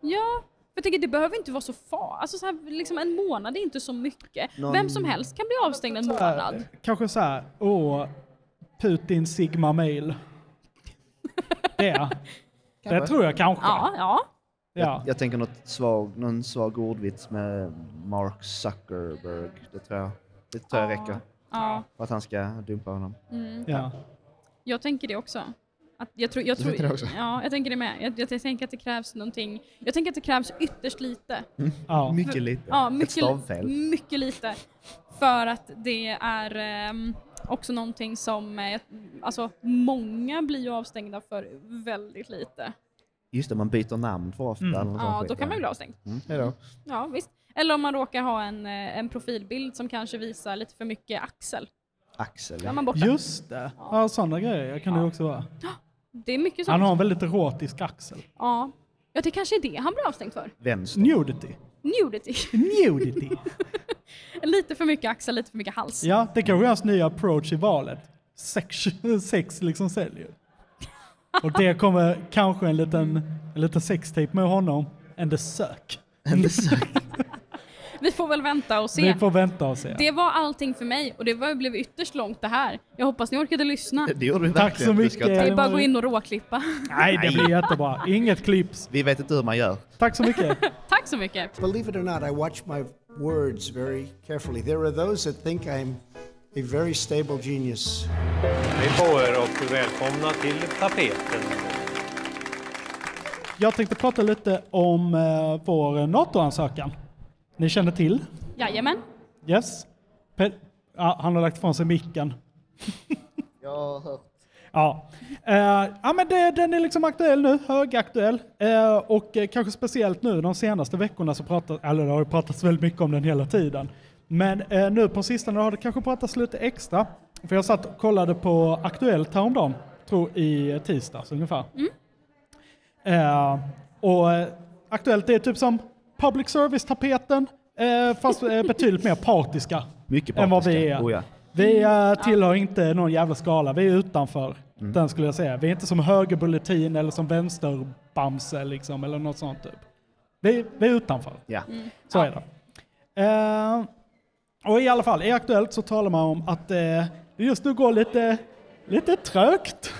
Speaker 2: Ja, för jag tänker det behöver inte vara så far. Alltså så här, liksom en månad är inte så mycket.
Speaker 4: Någon-
Speaker 2: Vem som helst kan bli avstängd en
Speaker 4: Så här,
Speaker 2: månad.
Speaker 4: Eh, Kanske så här, åh, Putin sigma mail. Det. det tror jag kanske.
Speaker 2: Ja, ja.
Speaker 4: Ja.
Speaker 3: Jag, jag tänker något svag, någon svag ordvits med Mark Zuckerberg. Det tror jag, det tror jag räcker.
Speaker 2: Ja.
Speaker 3: För att han ska dumpa honom.
Speaker 2: Mm.
Speaker 4: Ja.
Speaker 2: Jag tänker det också. Att jag, tror, jag,
Speaker 3: Du
Speaker 2: tror,
Speaker 3: tänker det också?
Speaker 2: Ja, jag tänker det med. Jag, jag, jag tänker att det krävs någonting. Jag tänker att det krävs ytterst lite.
Speaker 4: Ja.
Speaker 3: Mycket lite.
Speaker 2: Ja,
Speaker 3: Ett
Speaker 2: mycket,
Speaker 3: stavfel.
Speaker 2: mycket lite. För att det är ehm, också någonting som, eh, alltså många blir ju avstängda för väldigt lite.
Speaker 3: Just det, man byter namn för ofta.
Speaker 4: Mm.
Speaker 3: eller något sånt
Speaker 2: Ja, då
Speaker 3: skit,
Speaker 2: kan man ju bli avstängd.
Speaker 3: Mm, hejdå.
Speaker 2: Ja, visst. Eller om man råkar ha en, eh, en profilbild som kanske visar lite för mycket axel.
Speaker 3: Axel.
Speaker 2: Då är man borta.
Speaker 4: Just det, ja, sådana grejer kan det också vara.
Speaker 2: Det är mycket sånt.
Speaker 4: Han har en väldigt erotisk axel.
Speaker 2: Ja. ja, det kanske är det han blir avstängd för.
Speaker 3: Vänster.
Speaker 4: Nudity.
Speaker 2: Nudity.
Speaker 4: Nudity.
Speaker 2: lite för mycket axel, lite för mycket hals.
Speaker 4: Ja, det kanske är hans nya approach i valet. Sex, sex liksom säljer. Och det kommer kanske en liten, en liten sextape med honom. En The Sök.
Speaker 3: En The Sök.
Speaker 2: Vi får väl vänta och se.
Speaker 4: Vi får vänta och se.
Speaker 2: Det var allting för mig och det var, blev ytterst långt det här. Jag hoppas ni orkade lyssna.
Speaker 3: Det gjorde vi
Speaker 4: Tack så
Speaker 3: verkligen. Du
Speaker 4: mycket.
Speaker 3: ska ta-
Speaker 2: Det är bara att gå in och råklippa.
Speaker 4: Nej, det blir jättebra. Inget klipps.
Speaker 3: Vi vet inte hur man gör.
Speaker 4: Tack så mycket.
Speaker 2: Tack så mycket.
Speaker 17: Believe it or not, I watch my words very carefully. There are those that think I'm a very stable genius.
Speaker 7: Hej på er och välkomna till tapeten.
Speaker 4: Jag tänkte prata lite om eh, vår NATO-ansökan. Ni känner till?
Speaker 2: Jajamän.
Speaker 4: Yes? Pe- ja, han har lagt ifrån sig micken.
Speaker 3: Jag har hört.
Speaker 4: Ja, Eh, ja men det, den är liksom aktuell nu, högaktuell. Eh, och eh, kanske speciellt nu de senaste veckorna så pratas, eller det har ju pratats väldigt mycket om den hela tiden. Men eh, nu på sistone har det kanske pratats lite extra. För jag satt och kollade på Aktuellt häromdagen, tror i tisdags ungefär. Eh, och eh, Aktuellt är typ som public service-tapeten, eh, fast eh, betydligt mer partiska.
Speaker 3: Mycket
Speaker 4: än vad vi
Speaker 3: partiska.
Speaker 4: är.
Speaker 3: Oh ja.
Speaker 4: Vi eh, tillhör inte någon jävla skala, vi är utanför den skulle jag säga. Vi är inte som högerbulletin eller som vänsterbamse liksom, eller något sånt typ. Vi, vi är utanför.
Speaker 3: Ja.
Speaker 10: Mm.
Speaker 4: Så är det. Eh, och i alla fall, i Aktuellt så talar man om att eh, det just nu går lite, lite trögt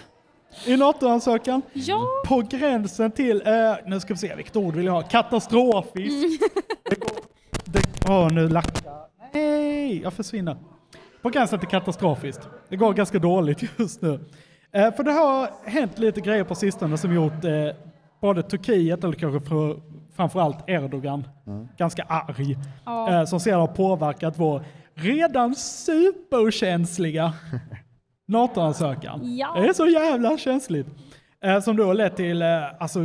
Speaker 4: i NATO-ansökan.
Speaker 2: Ja.
Speaker 4: På gränsen till, eh, nu ska vi se vilket ord vill jag ha, katastrofiskt. Åh, nu lackar Nej, jag försvinner. På gränsen till katastrofiskt. Det går ganska dåligt just nu. Eh, för det har hänt lite grejer på sistone som gjort eh, både Turkiet, eller kanske för, framförallt Erdogan, ganska arg.
Speaker 10: Ja.
Speaker 4: Eh, som sedan har påverkat vår redan superkänsliga NATO-ansökan.
Speaker 10: Ja.
Speaker 4: Det är så jävla känsligt. Eh, som då har lett till eh, alltså,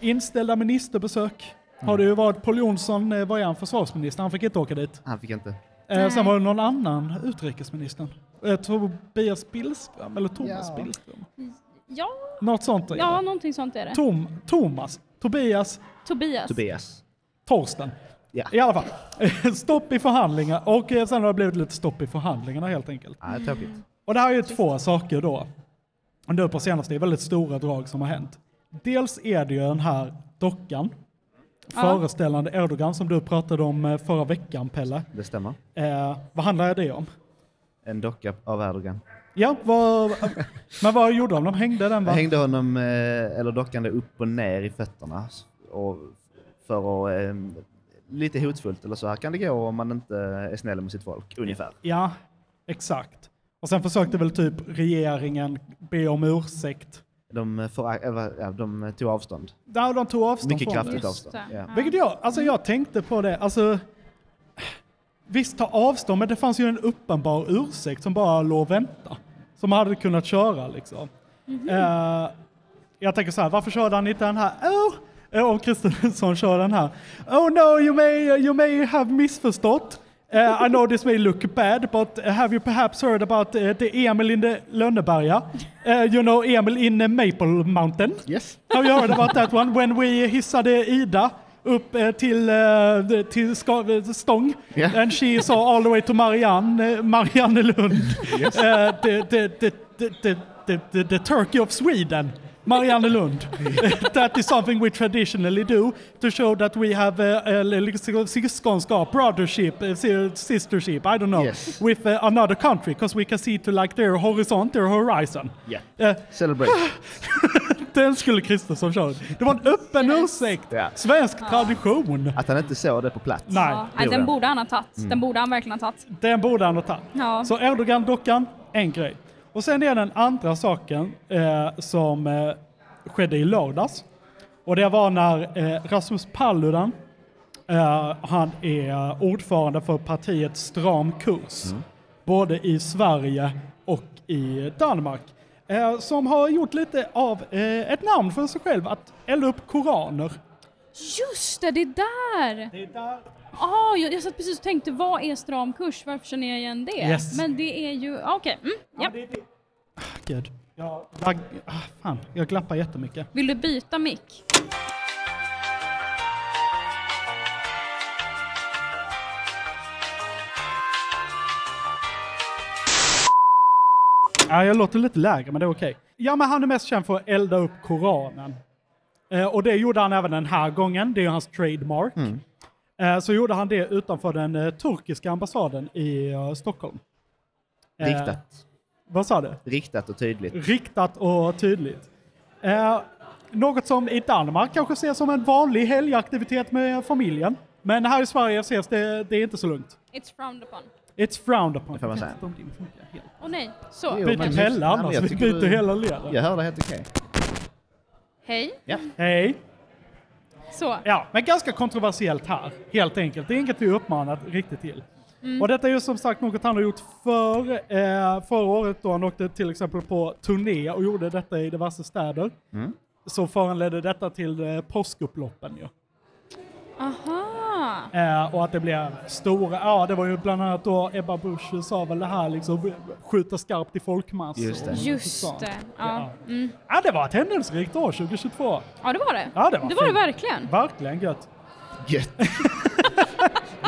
Speaker 4: inställda ministerbesök. Har det ju varit Paul Jonsson, eh, var ju han försvarsminister? Han fick inte åka dit.
Speaker 3: Han fick inte.
Speaker 4: Eh, sen var det någon annan utrikesministern. Eh, Tobias Billström, eller Thomas
Speaker 2: Ja.
Speaker 4: Billström.
Speaker 2: Ja,
Speaker 4: Något sånt. är det.
Speaker 2: ja någonting sånt är det.
Speaker 4: Tom, Thomas, Tobias,
Speaker 2: Tobias.
Speaker 3: Tobias.
Speaker 4: Torsten. I alla fall, stopp i förhandlingar och eh, sen har det blivit lite stopp i förhandlingarna helt enkelt.
Speaker 3: Ja, det är tråkigt.
Speaker 4: Och det här är ju två saker då. Och Nu på senaste, det är väldigt stora drag som har hänt. Dels är det ju den här dockan,
Speaker 16: Ja.
Speaker 4: föreställande Erdogan som du pratade om eh, förra veckan Pelle.
Speaker 3: Det stämmer.
Speaker 4: Eh, vad handlar det om?
Speaker 3: En docka av Erdogan.
Speaker 4: Ja, vad, men vad gjorde de? De hängde den
Speaker 3: Jag
Speaker 4: va?
Speaker 3: hängde honom, eh, eller dockan, där upp och ner i fötterna. Och för att, eh, lite hotfullt eller så här kan det gå om man inte är snäll mot sitt folk, ungefär.
Speaker 4: Ja, exakt. Och sen försökte väl typ regeringen be om ursäkt.
Speaker 3: De, förak- eller, ja, de tog avstånd.
Speaker 4: Där de tog avstånd
Speaker 3: Mycket
Speaker 4: från
Speaker 3: kraftigt
Speaker 4: det.
Speaker 3: avstånd. Ja.
Speaker 4: Vilket jag, alltså jag tänkte på det, alltså visst ta avstånd, men det fanns ju en uppenbar ursäkt som bara låg vänta. Som hade kunnat köra liksom. Eh, jag tänker så här, varför körde han inte den här? Oh, eh, om Kristensson kör den här. Oh no, you may, you may have missförstått. Eh, I know this may look bad, but have you perhaps heard about eh, the Emil in the Lönneberga? Eh, you know Emil in eh, Maple Mountain?
Speaker 3: Yes.
Speaker 4: Have you heard about that one? When we hissade Ida upp eh, till, eh, the- till ska, eh, Stång.
Speaker 10: Yeah.
Speaker 4: And she saw all the way to Marianne, eh, Mariannelund.
Speaker 10: Yes.
Speaker 4: Eh, the, the, the, the, the, the, the, the Turkey of Sweden. Mariannelund. that is something we traditionally do to show that we have eh, eh, liksom syskonskap, brothership, eh, si- sistership, I don't know, with eh, another country because we can see to like their horizon, their horizon.
Speaker 3: Yeah.
Speaker 4: Eh,
Speaker 3: Celebrate.
Speaker 4: Den skulle Kristensson köra. Det var en öppen ursäkt. Svensk tradition.
Speaker 3: Att han inte såg det på plats.
Speaker 4: Nej.
Speaker 2: Ja, nej, den borde han ha tagit.
Speaker 4: Mm.
Speaker 2: Den borde han verkligen ha tagit.
Speaker 4: Den borde han ha tagit.
Speaker 2: Ja.
Speaker 4: Så Erdogan-dockan, en grej. Och sen är den andra saken eh, som eh, skedde i lördags. Och det var när eh, Rasmus Paludan, eh, han är ordförande för partiet Stram kurs, både i Sverige och i Danmark, eh, som har gjort lite av eh, ett namn för sig själv, att elda upp koraner.
Speaker 2: Just det, det är där!
Speaker 4: Det är där.
Speaker 2: Ah, jag, jag satt precis och tänkte, vad är stram kurs? Varför känner jag igen det?
Speaker 4: Yes.
Speaker 2: Men det är ju, ah, okej. Mm, ja.
Speaker 4: Gud. Jag, jag, ah, fan, jag glappar jättemycket.
Speaker 2: Vill du byta mick?
Speaker 4: Ja, jag låter lite lägre, men det är okej. Ja, men han är mest känd för att elda upp Koranen. Eh, och det gjorde han även den här gången. Det är ju hans trademark. Eh, Så gjorde han det utanför den eh, turkiska ambassaden i eh, Stockholm. Eh,
Speaker 3: Riktat.
Speaker 4: Vad sa du?
Speaker 3: Riktat och tydligt.
Speaker 4: Riktat och tydligt. Eh, något som i Danmark kanske ses som en vanlig helgaktivitet med familjen. Men här i Sverige ses det, det är inte så lugnt.
Speaker 2: It's frowned upon.
Speaker 4: It's frowned upon.
Speaker 3: Det får man säga.
Speaker 2: Åh nej, så.
Speaker 4: Jo, Byt men- hela
Speaker 3: Nej, men
Speaker 4: annars.
Speaker 3: jag
Speaker 4: Vi
Speaker 3: tycker
Speaker 4: byter
Speaker 3: du-
Speaker 4: hela leden.
Speaker 3: Jag hör det helt okej.
Speaker 2: Hej.
Speaker 3: Ja.
Speaker 4: Hej.
Speaker 2: Så.
Speaker 4: Ja, men ganska kontroversiellt här, helt enkelt. Det är inget vi uppmanat riktigt till.
Speaker 2: Mm.
Speaker 4: Och detta är ju som sagt något han har gjort för, eh, förra året då han åkte till exempel på turné och gjorde detta i diverse städer.
Speaker 3: Mm.
Speaker 4: Så föranledde detta till eh, påskupploppen ju.
Speaker 2: Aha.
Speaker 4: Eh, och att det blev stora, ja det var ju bland annat då Ebba Busch sa väl det här liksom, skjuta skarpt i folkmassor.
Speaker 3: Just det.
Speaker 2: Just det. Ja. Mm.
Speaker 4: Ja, det var ett händelserikt år 2022.
Speaker 2: ja, det var det.
Speaker 4: Ja, det var
Speaker 2: det, var det
Speaker 4: fint.
Speaker 2: verkligen.
Speaker 4: Verkligen gött.
Speaker 3: Gött.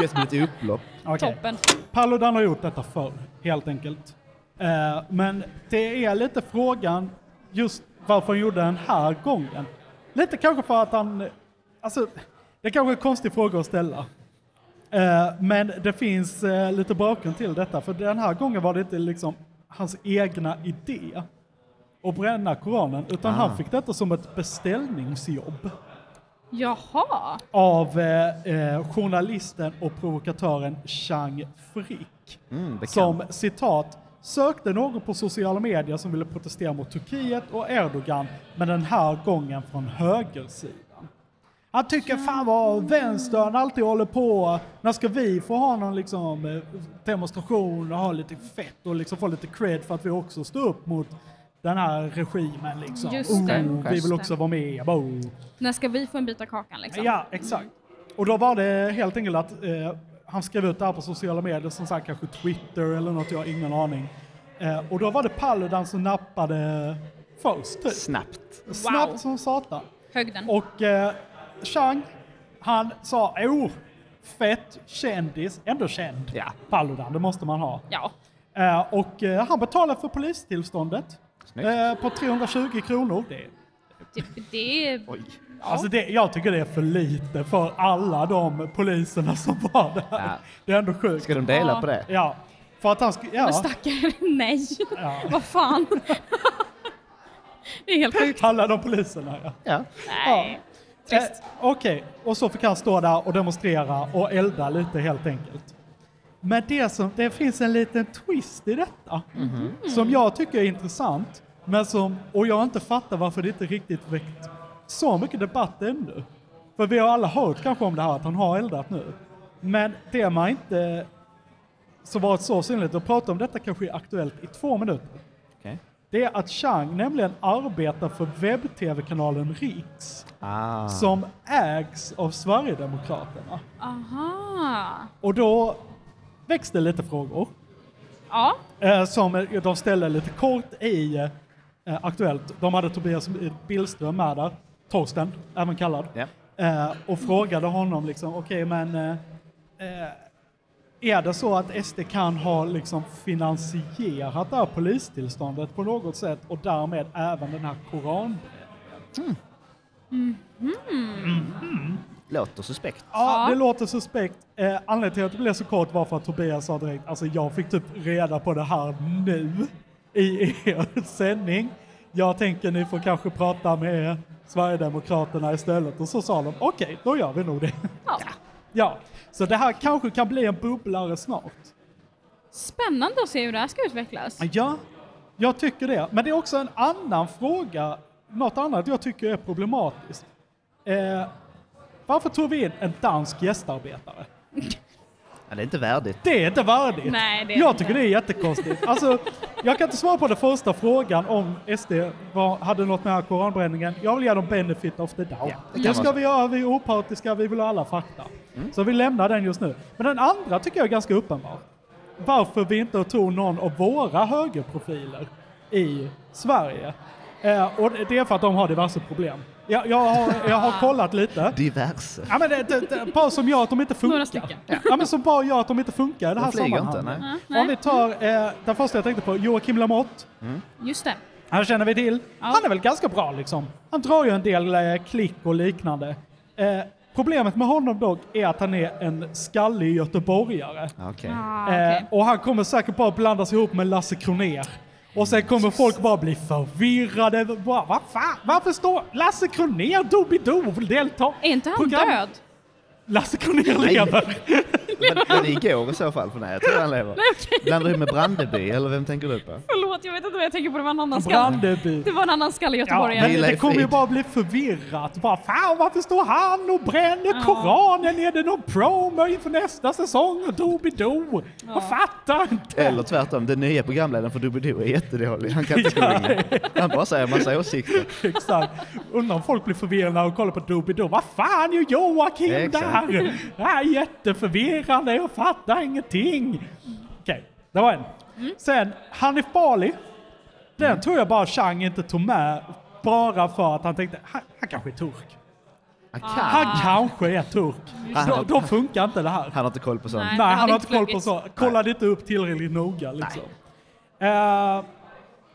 Speaker 3: gött med lite upplopp.
Speaker 4: Okej.
Speaker 2: Toppen.
Speaker 4: Paludan har gjort detta förr, helt enkelt. Eh, men det är lite frågan just varför han gjorde den här gången. Lite kanske för att han... Alltså, det kanske är en konstig fråga att ställa. Eh, men det finns eh, lite bakgrund till detta, för den här gången var det inte liksom hans egna idé att bränna Koranen,
Speaker 2: Ah.
Speaker 4: utan han fick detta som ett beställningsjobb
Speaker 2: Jaha.
Speaker 4: av eh, eh, journalisten och provokatören Chang Frick. som citat sökte någon på sociala medier som ville protestera mot Turkiet och Erdogan, men den här gången från högersidan. Han tycker fan vad vänstern alltid håller på, när ska vi få ha någon liksom eh, demonstration och ha lite fett och liksom få lite cred för att vi också står upp mot den här regimen liksom.
Speaker 2: Just det.
Speaker 4: Oh, vi
Speaker 2: Just
Speaker 4: vill
Speaker 2: det.
Speaker 4: också vara med. Oh.
Speaker 2: När ska vi få en bit av kakan liksom?
Speaker 4: Ja, exakt. Och då var det helt enkelt att eh, han skrev ut det här på sociala medier, som sagt kanske Twitter eller något, jag har ingen aning. Eh, och då var det Paludan som nappade först. Typ.
Speaker 3: Snabbt.
Speaker 4: Snabbt som satan.
Speaker 2: Högden.
Speaker 4: Och eh, Chang, han sa oh, fett, kändis, ändå känd. Paludan, det måste man ha.
Speaker 2: Ja.
Speaker 4: Eh, och eh, han betalade för polistillståndet eh, på 320 kronor. Det är
Speaker 2: Det, Typ, det är...
Speaker 3: Oj.
Speaker 4: Alltså det, jag tycker det är för lite för alla de poliserna som var där. Det är ändå sjukt. Ska
Speaker 3: de
Speaker 2: dela Ja. på det?
Speaker 4: Ja. För att han skulle...
Speaker 2: Men
Speaker 4: Ja.
Speaker 2: stackare, nej. Vad fan. det är helt sjukt.
Speaker 4: Alla de poliserna, ja.
Speaker 3: ja.
Speaker 2: Nej. Trist.
Speaker 4: Eh, Okej, och så fick han stå där och demonstrera och elda lite helt enkelt. Men det, som, det finns en liten twist i detta som jag tycker är intressant men som, och jag inte fattar varför det inte riktigt väckt så mycket debatt ännu. För vi har alla hört kanske om det här att han har eldat nu. Men det man inte som varit så synligt och prata om detta kanske är aktuellt i två minuter.
Speaker 3: Okej.
Speaker 4: Det är att Chang nämligen arbetar för webb-tv-kanalen Riks
Speaker 3: Ah.
Speaker 4: som ägs av Sverigedemokraterna.
Speaker 2: Aha.
Speaker 4: Och då väcks det lite frågor
Speaker 2: Ja.
Speaker 4: eh, som eh, de ställde lite kort i eh, Aktuellt. De hade Tobias Billström med där, Torsten, även kallad, eh, och frågade honom liksom, okej men eh, eh, är det så att SD kan ha liksom finansierat det här polistillståndet på något sätt och därmed även den här koran?
Speaker 3: Låter suspekt.
Speaker 4: Ja, det låter suspekt. Eh, anledningen till att det blev så kort var för att Tobias sa direkt, alltså jag fick typ reda på det här nu i er sändning. Jag tänker ni får kanske prata med Sverigedemokraterna istället och så sa de okej, då gör vi nog det.
Speaker 2: Ja.
Speaker 4: Ja, så det här kanske kan bli en bubblare snart.
Speaker 2: Spännande att se hur det här ska utvecklas.
Speaker 4: Ja, jag tycker det. Men det är också en annan fråga, något annat jag tycker är problematiskt. Eh, varför tog vi in en dansk gästarbetare?
Speaker 3: Ja, det är inte värdigt.
Speaker 4: Det är inte värdigt.
Speaker 2: Nej, det är
Speaker 4: jag
Speaker 2: inte.
Speaker 4: tycker det är jättekonstigt. Alltså, jag kan inte svara på den första frågan om SD var, hade något med den här koranbränningen. Jag vill ge dem benefit of the doubt.
Speaker 3: det
Speaker 4: det
Speaker 3: kan
Speaker 4: ska
Speaker 3: man
Speaker 4: vi göra, vi är opartiska, vi vill ha alla fakta.
Speaker 2: Mm.
Speaker 4: Så vi lämnar den just nu. Men den andra tycker jag är ganska uppenbar. Varför vi inte tog någon av våra högerprofiler i Sverige. Eh, och det är för att de har diverse problem. Jag, jag, har, jag har kollat lite.
Speaker 3: Diverse.
Speaker 4: Ja, men det, det, det, ett par som gör att de inte funkar.
Speaker 2: Några stycken.
Speaker 4: Ja, men som bara gör att de inte funkar i det
Speaker 3: De
Speaker 4: här
Speaker 3: flyger
Speaker 4: sammanhanget.
Speaker 3: inte, nej.
Speaker 2: Nej.
Speaker 4: Om vi tar eh, den första jag tänkte på, Joakim Lamotte.
Speaker 2: Just det.
Speaker 4: Han känner vi till. Han är väl ganska bra liksom. Han drar ju en del eh, klick och liknande. Eh, Problemet med honom dock är att han är en skallig göteborgare.
Speaker 3: Okej.
Speaker 2: Ah,
Speaker 4: Eh, och han kommer säkert bara blandas ihop med Lasse Kronér. Och sen kommer folk bara bli förvirrade. Bara, Vad fan, varför står Lasse Kronér Doobidoo deltar?
Speaker 2: Är inte han död?
Speaker 4: Lasse Kronér lever.
Speaker 3: Men, men igår i så fall, för nej jag tror han lever. Blandar du med Brandeby eller vem tänker du på?
Speaker 2: Förlåt, jag vet inte vad jag tänker på. Det var en annan skalle.
Speaker 4: Brandeby.
Speaker 2: Det var en annan skalle
Speaker 4: Ja,
Speaker 2: göteborgare.
Speaker 4: men det kommer ju bara bli förvirrat. Bara, fan, varför står han och bränner Koranen? Är det någon promo inför nästa säsong? Och Doobidoo? Jag fattar inte.
Speaker 3: Eller tvärtom, den nya programledaren för Doobidoo är jättedålig. Han kan inte sjunga. Han bara säger massa åsikter.
Speaker 4: Exakt. Undrar om folk blir förvirrade och kollar på Doobidoo. Vad fan är Joakim
Speaker 3: Exakt.
Speaker 4: där? Det här är jätteförvirrande. Jag fattar ingenting. Okej, det var en. Sen Hanif Bali. Den
Speaker 3: Mm.
Speaker 4: tror jag bara Chang inte tog med. Bara för att han tänkte, han, han kanske är turk. Han kanske är turk.
Speaker 3: Han-
Speaker 4: Då, då funkar inte det här.
Speaker 3: Han har inte koll på sånt.
Speaker 4: Nej, han har inte koll på så. Kollade inte upp tillräckligt noga. Liksom. Eh,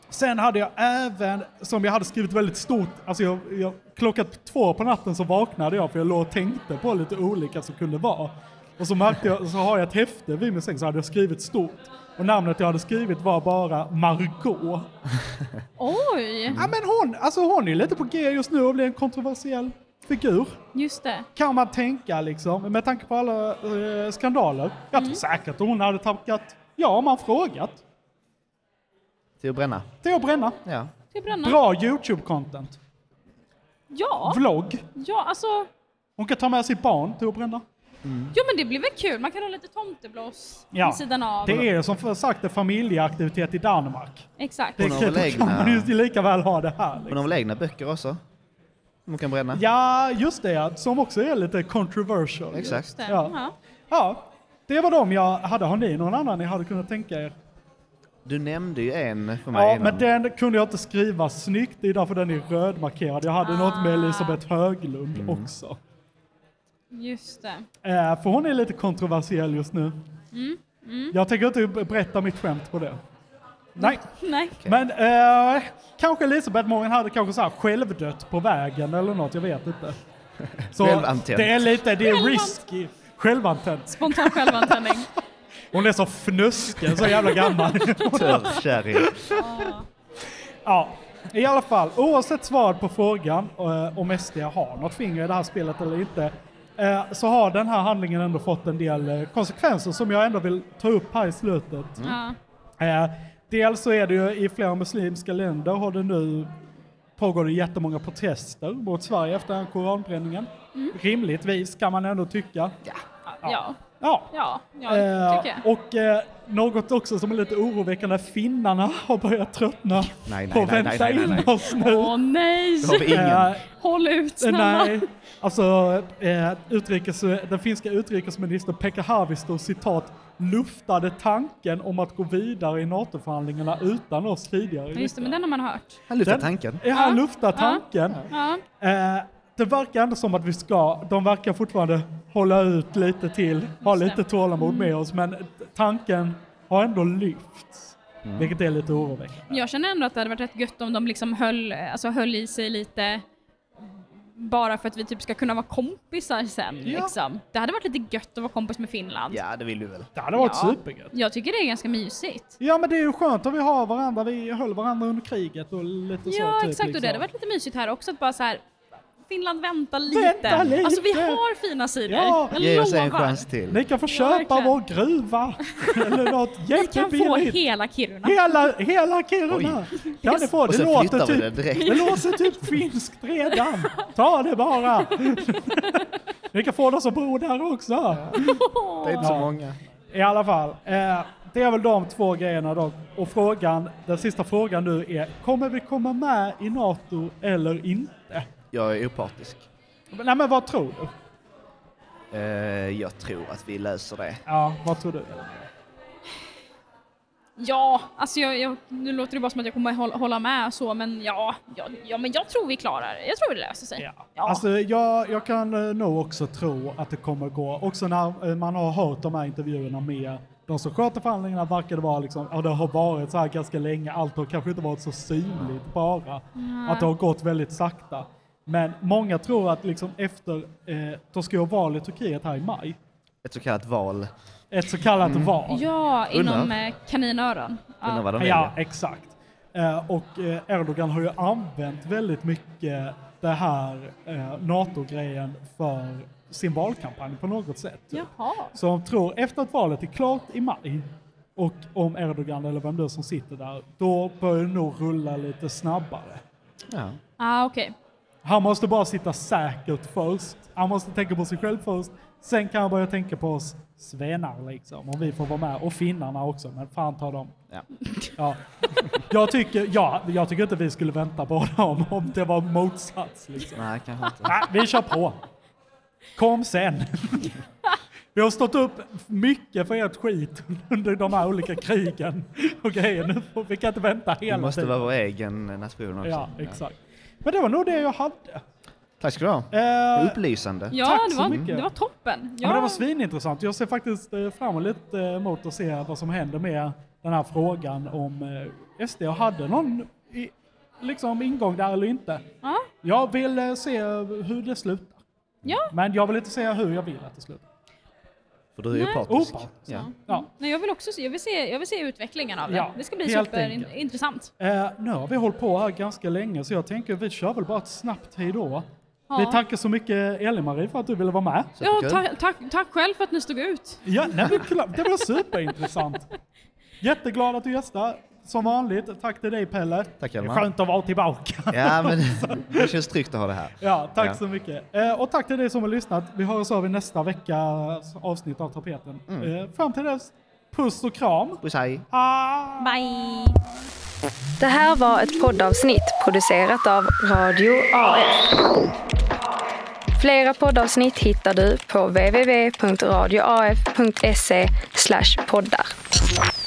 Speaker 4: sen hade jag även, som jag hade skrivit väldigt stort, alltså jag, jag, klockan två på natten så vaknade jag för jag låg och tänkte på lite olika som kunde vara. Och så märkte jag, så har jag ett häfte vid min säng så hade jag skrivit stort. Och namnet jag hade skrivit var bara Margot.
Speaker 2: Oj!
Speaker 4: Ja men hon, alltså hon är lite på G just nu och blir en kontroversiell figur.
Speaker 2: Just det.
Speaker 4: Kan man tänka liksom, med tanke på alla eh, skandaler. Jag
Speaker 2: Mm.
Speaker 4: tror säkert hon hade tackat ja om man frågat.
Speaker 3: Till att bränna.
Speaker 4: Till att bränna.
Speaker 2: Mm.
Speaker 3: Ja.
Speaker 2: Till att bränna.
Speaker 4: Bra YouTube-content.
Speaker 2: Ja.
Speaker 4: Vlogg.
Speaker 2: Ja, alltså.
Speaker 4: Hon kan ta med sitt barn till att bränna.
Speaker 2: Jo, men det blir väl kul. Man kan ha lite tomteblås
Speaker 4: Ja.
Speaker 2: vid sidan av.
Speaker 4: Det är som för sagt en familjeaktivitet i Danmark.
Speaker 2: Exakt.
Speaker 4: Det
Speaker 3: Hon har väl
Speaker 4: då kan
Speaker 3: egna-
Speaker 4: man ju lika väl ha det här. liksom.
Speaker 3: Hon har väl egna böcker också? Som hon kan bränna?
Speaker 4: Ja, just det. ja. Som också är lite controversial.
Speaker 3: Exakt. Just det,
Speaker 4: Ja. ja, det var de jag hade. Har ni någon annan ni hade kunnat tänka er?
Speaker 3: Du nämnde ju en för mig
Speaker 4: Ja,
Speaker 3: innan.
Speaker 4: men den kunde jag inte skriva snyggt i därför den är rödmarkerad. Jag hade något
Speaker 2: Ah.
Speaker 4: med Elisabeth Höglund
Speaker 3: Mm.
Speaker 4: också.
Speaker 2: Just det.
Speaker 4: Eh, för hon är lite kontroversiell just nu.
Speaker 2: Mm. Mm.
Speaker 4: Jag tänker inte berätta mitt skämt på det. Nej.
Speaker 2: Nej.
Speaker 4: Men eh, kanske Elisabeth Morgan hade kanske så här självdött på vägen eller något, jag vet inte. Så
Speaker 3: Självantänt.
Speaker 4: det är lite, det är
Speaker 2: Självant-
Speaker 4: risky. Självantänt.
Speaker 2: Spontan självantändning.
Speaker 4: Hon är så fnösken, så jävla gammal.
Speaker 3: Törrkärring.
Speaker 4: Ja, i alla fall. Oavsett svar på frågan eh, om SD har något finger i det här spelet eller inte eh, så har den här handlingen ändå fått en del eh, konsekvenser som jag ändå vill ta upp här i slutet.
Speaker 2: Ja.
Speaker 3: Mm.
Speaker 4: Eh, Dels så är det ju i flera muslimska länder har det nu pågår det jättemånga protester mot Sverige efter den här koranbränningen.
Speaker 2: Mm.
Speaker 4: Rimligtvis kan man ändå tycka.
Speaker 2: Ja.
Speaker 4: Ja.
Speaker 2: Ja, ja det tycker jag.
Speaker 4: Eh, och eh, något också som är lite oroväckande, finnarna har börjat tröttna
Speaker 3: nej,
Speaker 4: på
Speaker 3: nej,
Speaker 4: att vänta
Speaker 3: nej, nej, nej.
Speaker 4: in oss nu.
Speaker 2: Åh nej!
Speaker 4: Då har vi ingen.
Speaker 2: Eh, Håll ut
Speaker 4: Eh,
Speaker 2: snälla.
Speaker 4: Nej, alltså eh, utrikes, den finska utrikesministern Pekka Haavisto citat luftade tanken om att gå vidare i NATO-förhandlingarna utan oss tidigare.
Speaker 2: Ja, Just det, men den har man hört.
Speaker 3: Han luftar tanken.
Speaker 4: Ja, han
Speaker 2: Ja,
Speaker 4: luftar
Speaker 2: ja,
Speaker 4: tanken.
Speaker 2: Ja.
Speaker 4: Eh, det verkar ändå som att vi ska, de verkar fortfarande hålla ut lite till, ha lite tålamod
Speaker 2: Mm.
Speaker 4: med oss, men tanken har ändå lyfts. Vilket är lite oroväckande.
Speaker 2: Men jag känner ändå att det hade varit rätt gött om de liksom höll, alltså höll i sig lite bara för att vi typ ska kunna vara kompisar sen.
Speaker 3: Ja.
Speaker 2: Liksom. Det hade varit lite gött att vara kompis med Finland.
Speaker 3: Ja, det vill du väl?
Speaker 4: Det hade varit
Speaker 2: Ja.
Speaker 4: supergött.
Speaker 2: Jag tycker det är ganska mysigt.
Speaker 4: Ja men det är ju skönt att vi har varandra, vi höll varandra under kriget och lite så.
Speaker 2: Ja
Speaker 4: typ,
Speaker 2: exakt och det hade
Speaker 4: liksom.
Speaker 2: varit lite mysigt här också att bara så här Finland vänta lite.
Speaker 4: Vänta lite.
Speaker 2: Alltså vi har fina sidor.
Speaker 4: Ja.
Speaker 2: Jag
Speaker 3: Ge oss en
Speaker 2: lovar.
Speaker 3: chans till.
Speaker 4: Ni kan få köpa
Speaker 2: verkligen.
Speaker 4: vår gruva eller något
Speaker 2: Vi kan få
Speaker 4: jättebilligt.
Speaker 2: hela Kiruna.
Speaker 4: Hela, hela Kiruna! Kan ni få?
Speaker 3: Och
Speaker 4: Det
Speaker 3: sen
Speaker 4: låter,
Speaker 3: flyttar vi
Speaker 4: typ,
Speaker 3: det
Speaker 4: det,
Speaker 3: direkt.
Speaker 4: låter typ finskt redan. Ta det bara! Ni kan få de som bor där också.
Speaker 3: Det är inte så
Speaker 4: Ja.
Speaker 3: många.
Speaker 4: I alla fall, eh, det är väl de två grejerna då. Och frågan, den sista frågan nu är, kommer vi komma med i NATO eller inte?
Speaker 3: Jag är opartisk.
Speaker 4: Men- Nej men vad tror du?
Speaker 3: Eh, jag tror att vi löser det.
Speaker 4: Ja, vad tror du?
Speaker 2: Ja, alltså jag, jag, nu låter det bara som att jag kommer hålla, hålla med och så men ja, ja, ja, men jag tror vi klarar det. Jag tror det löser sig. Ja.
Speaker 4: Alltså jag, jag kan eh, nog också tro att det kommer gå, också när eh, man har hört de här intervjuerna med de som sköter förhandlingarna verkar det vara liksom, ja det har varit så här ganska länge, allt har kanske inte varit så synligt bara.
Speaker 2: Nej.
Speaker 4: Att det har gått väldigt sakta. Men många tror att liksom efter eh, då ska jag val i Turkiet här i maj.
Speaker 3: Ett så kallat val.
Speaker 4: Ett så kallat
Speaker 3: Mm.
Speaker 4: val.
Speaker 2: Ja, inom
Speaker 3: Undrar.
Speaker 2: eh, kaninöron.
Speaker 3: Undrar vad de väljer.
Speaker 4: ja exakt. Eh, och eh, Erdogan har ju använt väldigt mycket det här eh, NATO-grejen för sin valkampanj på något sätt.
Speaker 2: Jaha.
Speaker 4: Så de tror efter att valet är klart i maj och om Erdogan eller vem det är som sitter där, då börjar det nog rulla lite snabbare.
Speaker 2: Ah, okej.
Speaker 4: Han måste bara sitta säkert först. Han måste tänka på sig själv först. Sen kan han börja tänka på oss svennar liksom, om vi får vara med. Och finnarna också, men fan ta dem.
Speaker 3: Ja.
Speaker 4: Jag, tycker, ja, jag tycker inte vi skulle vänta på dem om det var motsats. Liksom.
Speaker 3: Nej, kanske inte.
Speaker 4: Nej, vi kör på. Kom sen. Vi har stått upp mycket för ert skit under de här olika krigen. Okej, nu får, vi kan inte vänta
Speaker 3: Vi
Speaker 4: hela
Speaker 3: måste
Speaker 4: tiden.
Speaker 3: vara vår egen nation också.
Speaker 4: Ja, exakt. Men det var nog det jag hade.
Speaker 3: Tack ska du ha.
Speaker 4: Eh,
Speaker 3: Upplysande.
Speaker 2: Ja,
Speaker 4: Tack
Speaker 2: det
Speaker 4: så
Speaker 2: var,
Speaker 4: mycket.
Speaker 2: det var toppen.
Speaker 4: Ja. Men det var
Speaker 2: Ja,
Speaker 4: svinintressant. Jag ser faktiskt eh, fram emot eh, mot att se vad som händer med den här frågan om eh, SD hade någon i, liksom ingång där eller inte.
Speaker 2: Ja.
Speaker 4: Jag vill eh, se hur det slutar.
Speaker 2: Ja.
Speaker 4: Men jag vill inte säga hur jag vill att det slutar.
Speaker 3: För du är ju
Speaker 4: Nej.
Speaker 3: partisk.
Speaker 4: Opartisk,
Speaker 3: Ja.
Speaker 4: Ja.
Speaker 2: Nej, jag vill också se, jag vill se, jag vill se utvecklingen av det.
Speaker 4: Ja,
Speaker 2: det ska bli
Speaker 4: helt enkelt.
Speaker 2: superintressant.
Speaker 4: Eh, nu har vi hållit på här ganska länge så jag tänker vi kör väl bara ett snabbt hejdå.
Speaker 2: Ja.
Speaker 4: Vi tackar så mycket Elin-Marie för att du ville vara med.
Speaker 2: Ja, ta, tack, tack själv för att ni stod ut.
Speaker 4: Ja, nej, men kla- det var superintressant. Jätteglad att du gästade. Som vanligt, tack till dig Pelle.
Speaker 3: Tack
Speaker 4: det är
Speaker 3: Hjalmar.
Speaker 4: skönt att vara tillbaka.
Speaker 3: Ja, men det känns tryggt att ha det här.
Speaker 4: Ja, tack
Speaker 3: Ja.
Speaker 4: så mycket. Eh, och tack till dig som har lyssnat. Vi hörs av i nästa veckas avsnitt av Tapeten.
Speaker 3: Mm.
Speaker 4: Eh, fram till dess, puss och kram.
Speaker 3: Puss hej.
Speaker 2: Bye!
Speaker 1: Det här var ett poddavsnitt producerat av Radio AF. Flera poddavsnitt hittar du på www.radioaf.se poddar.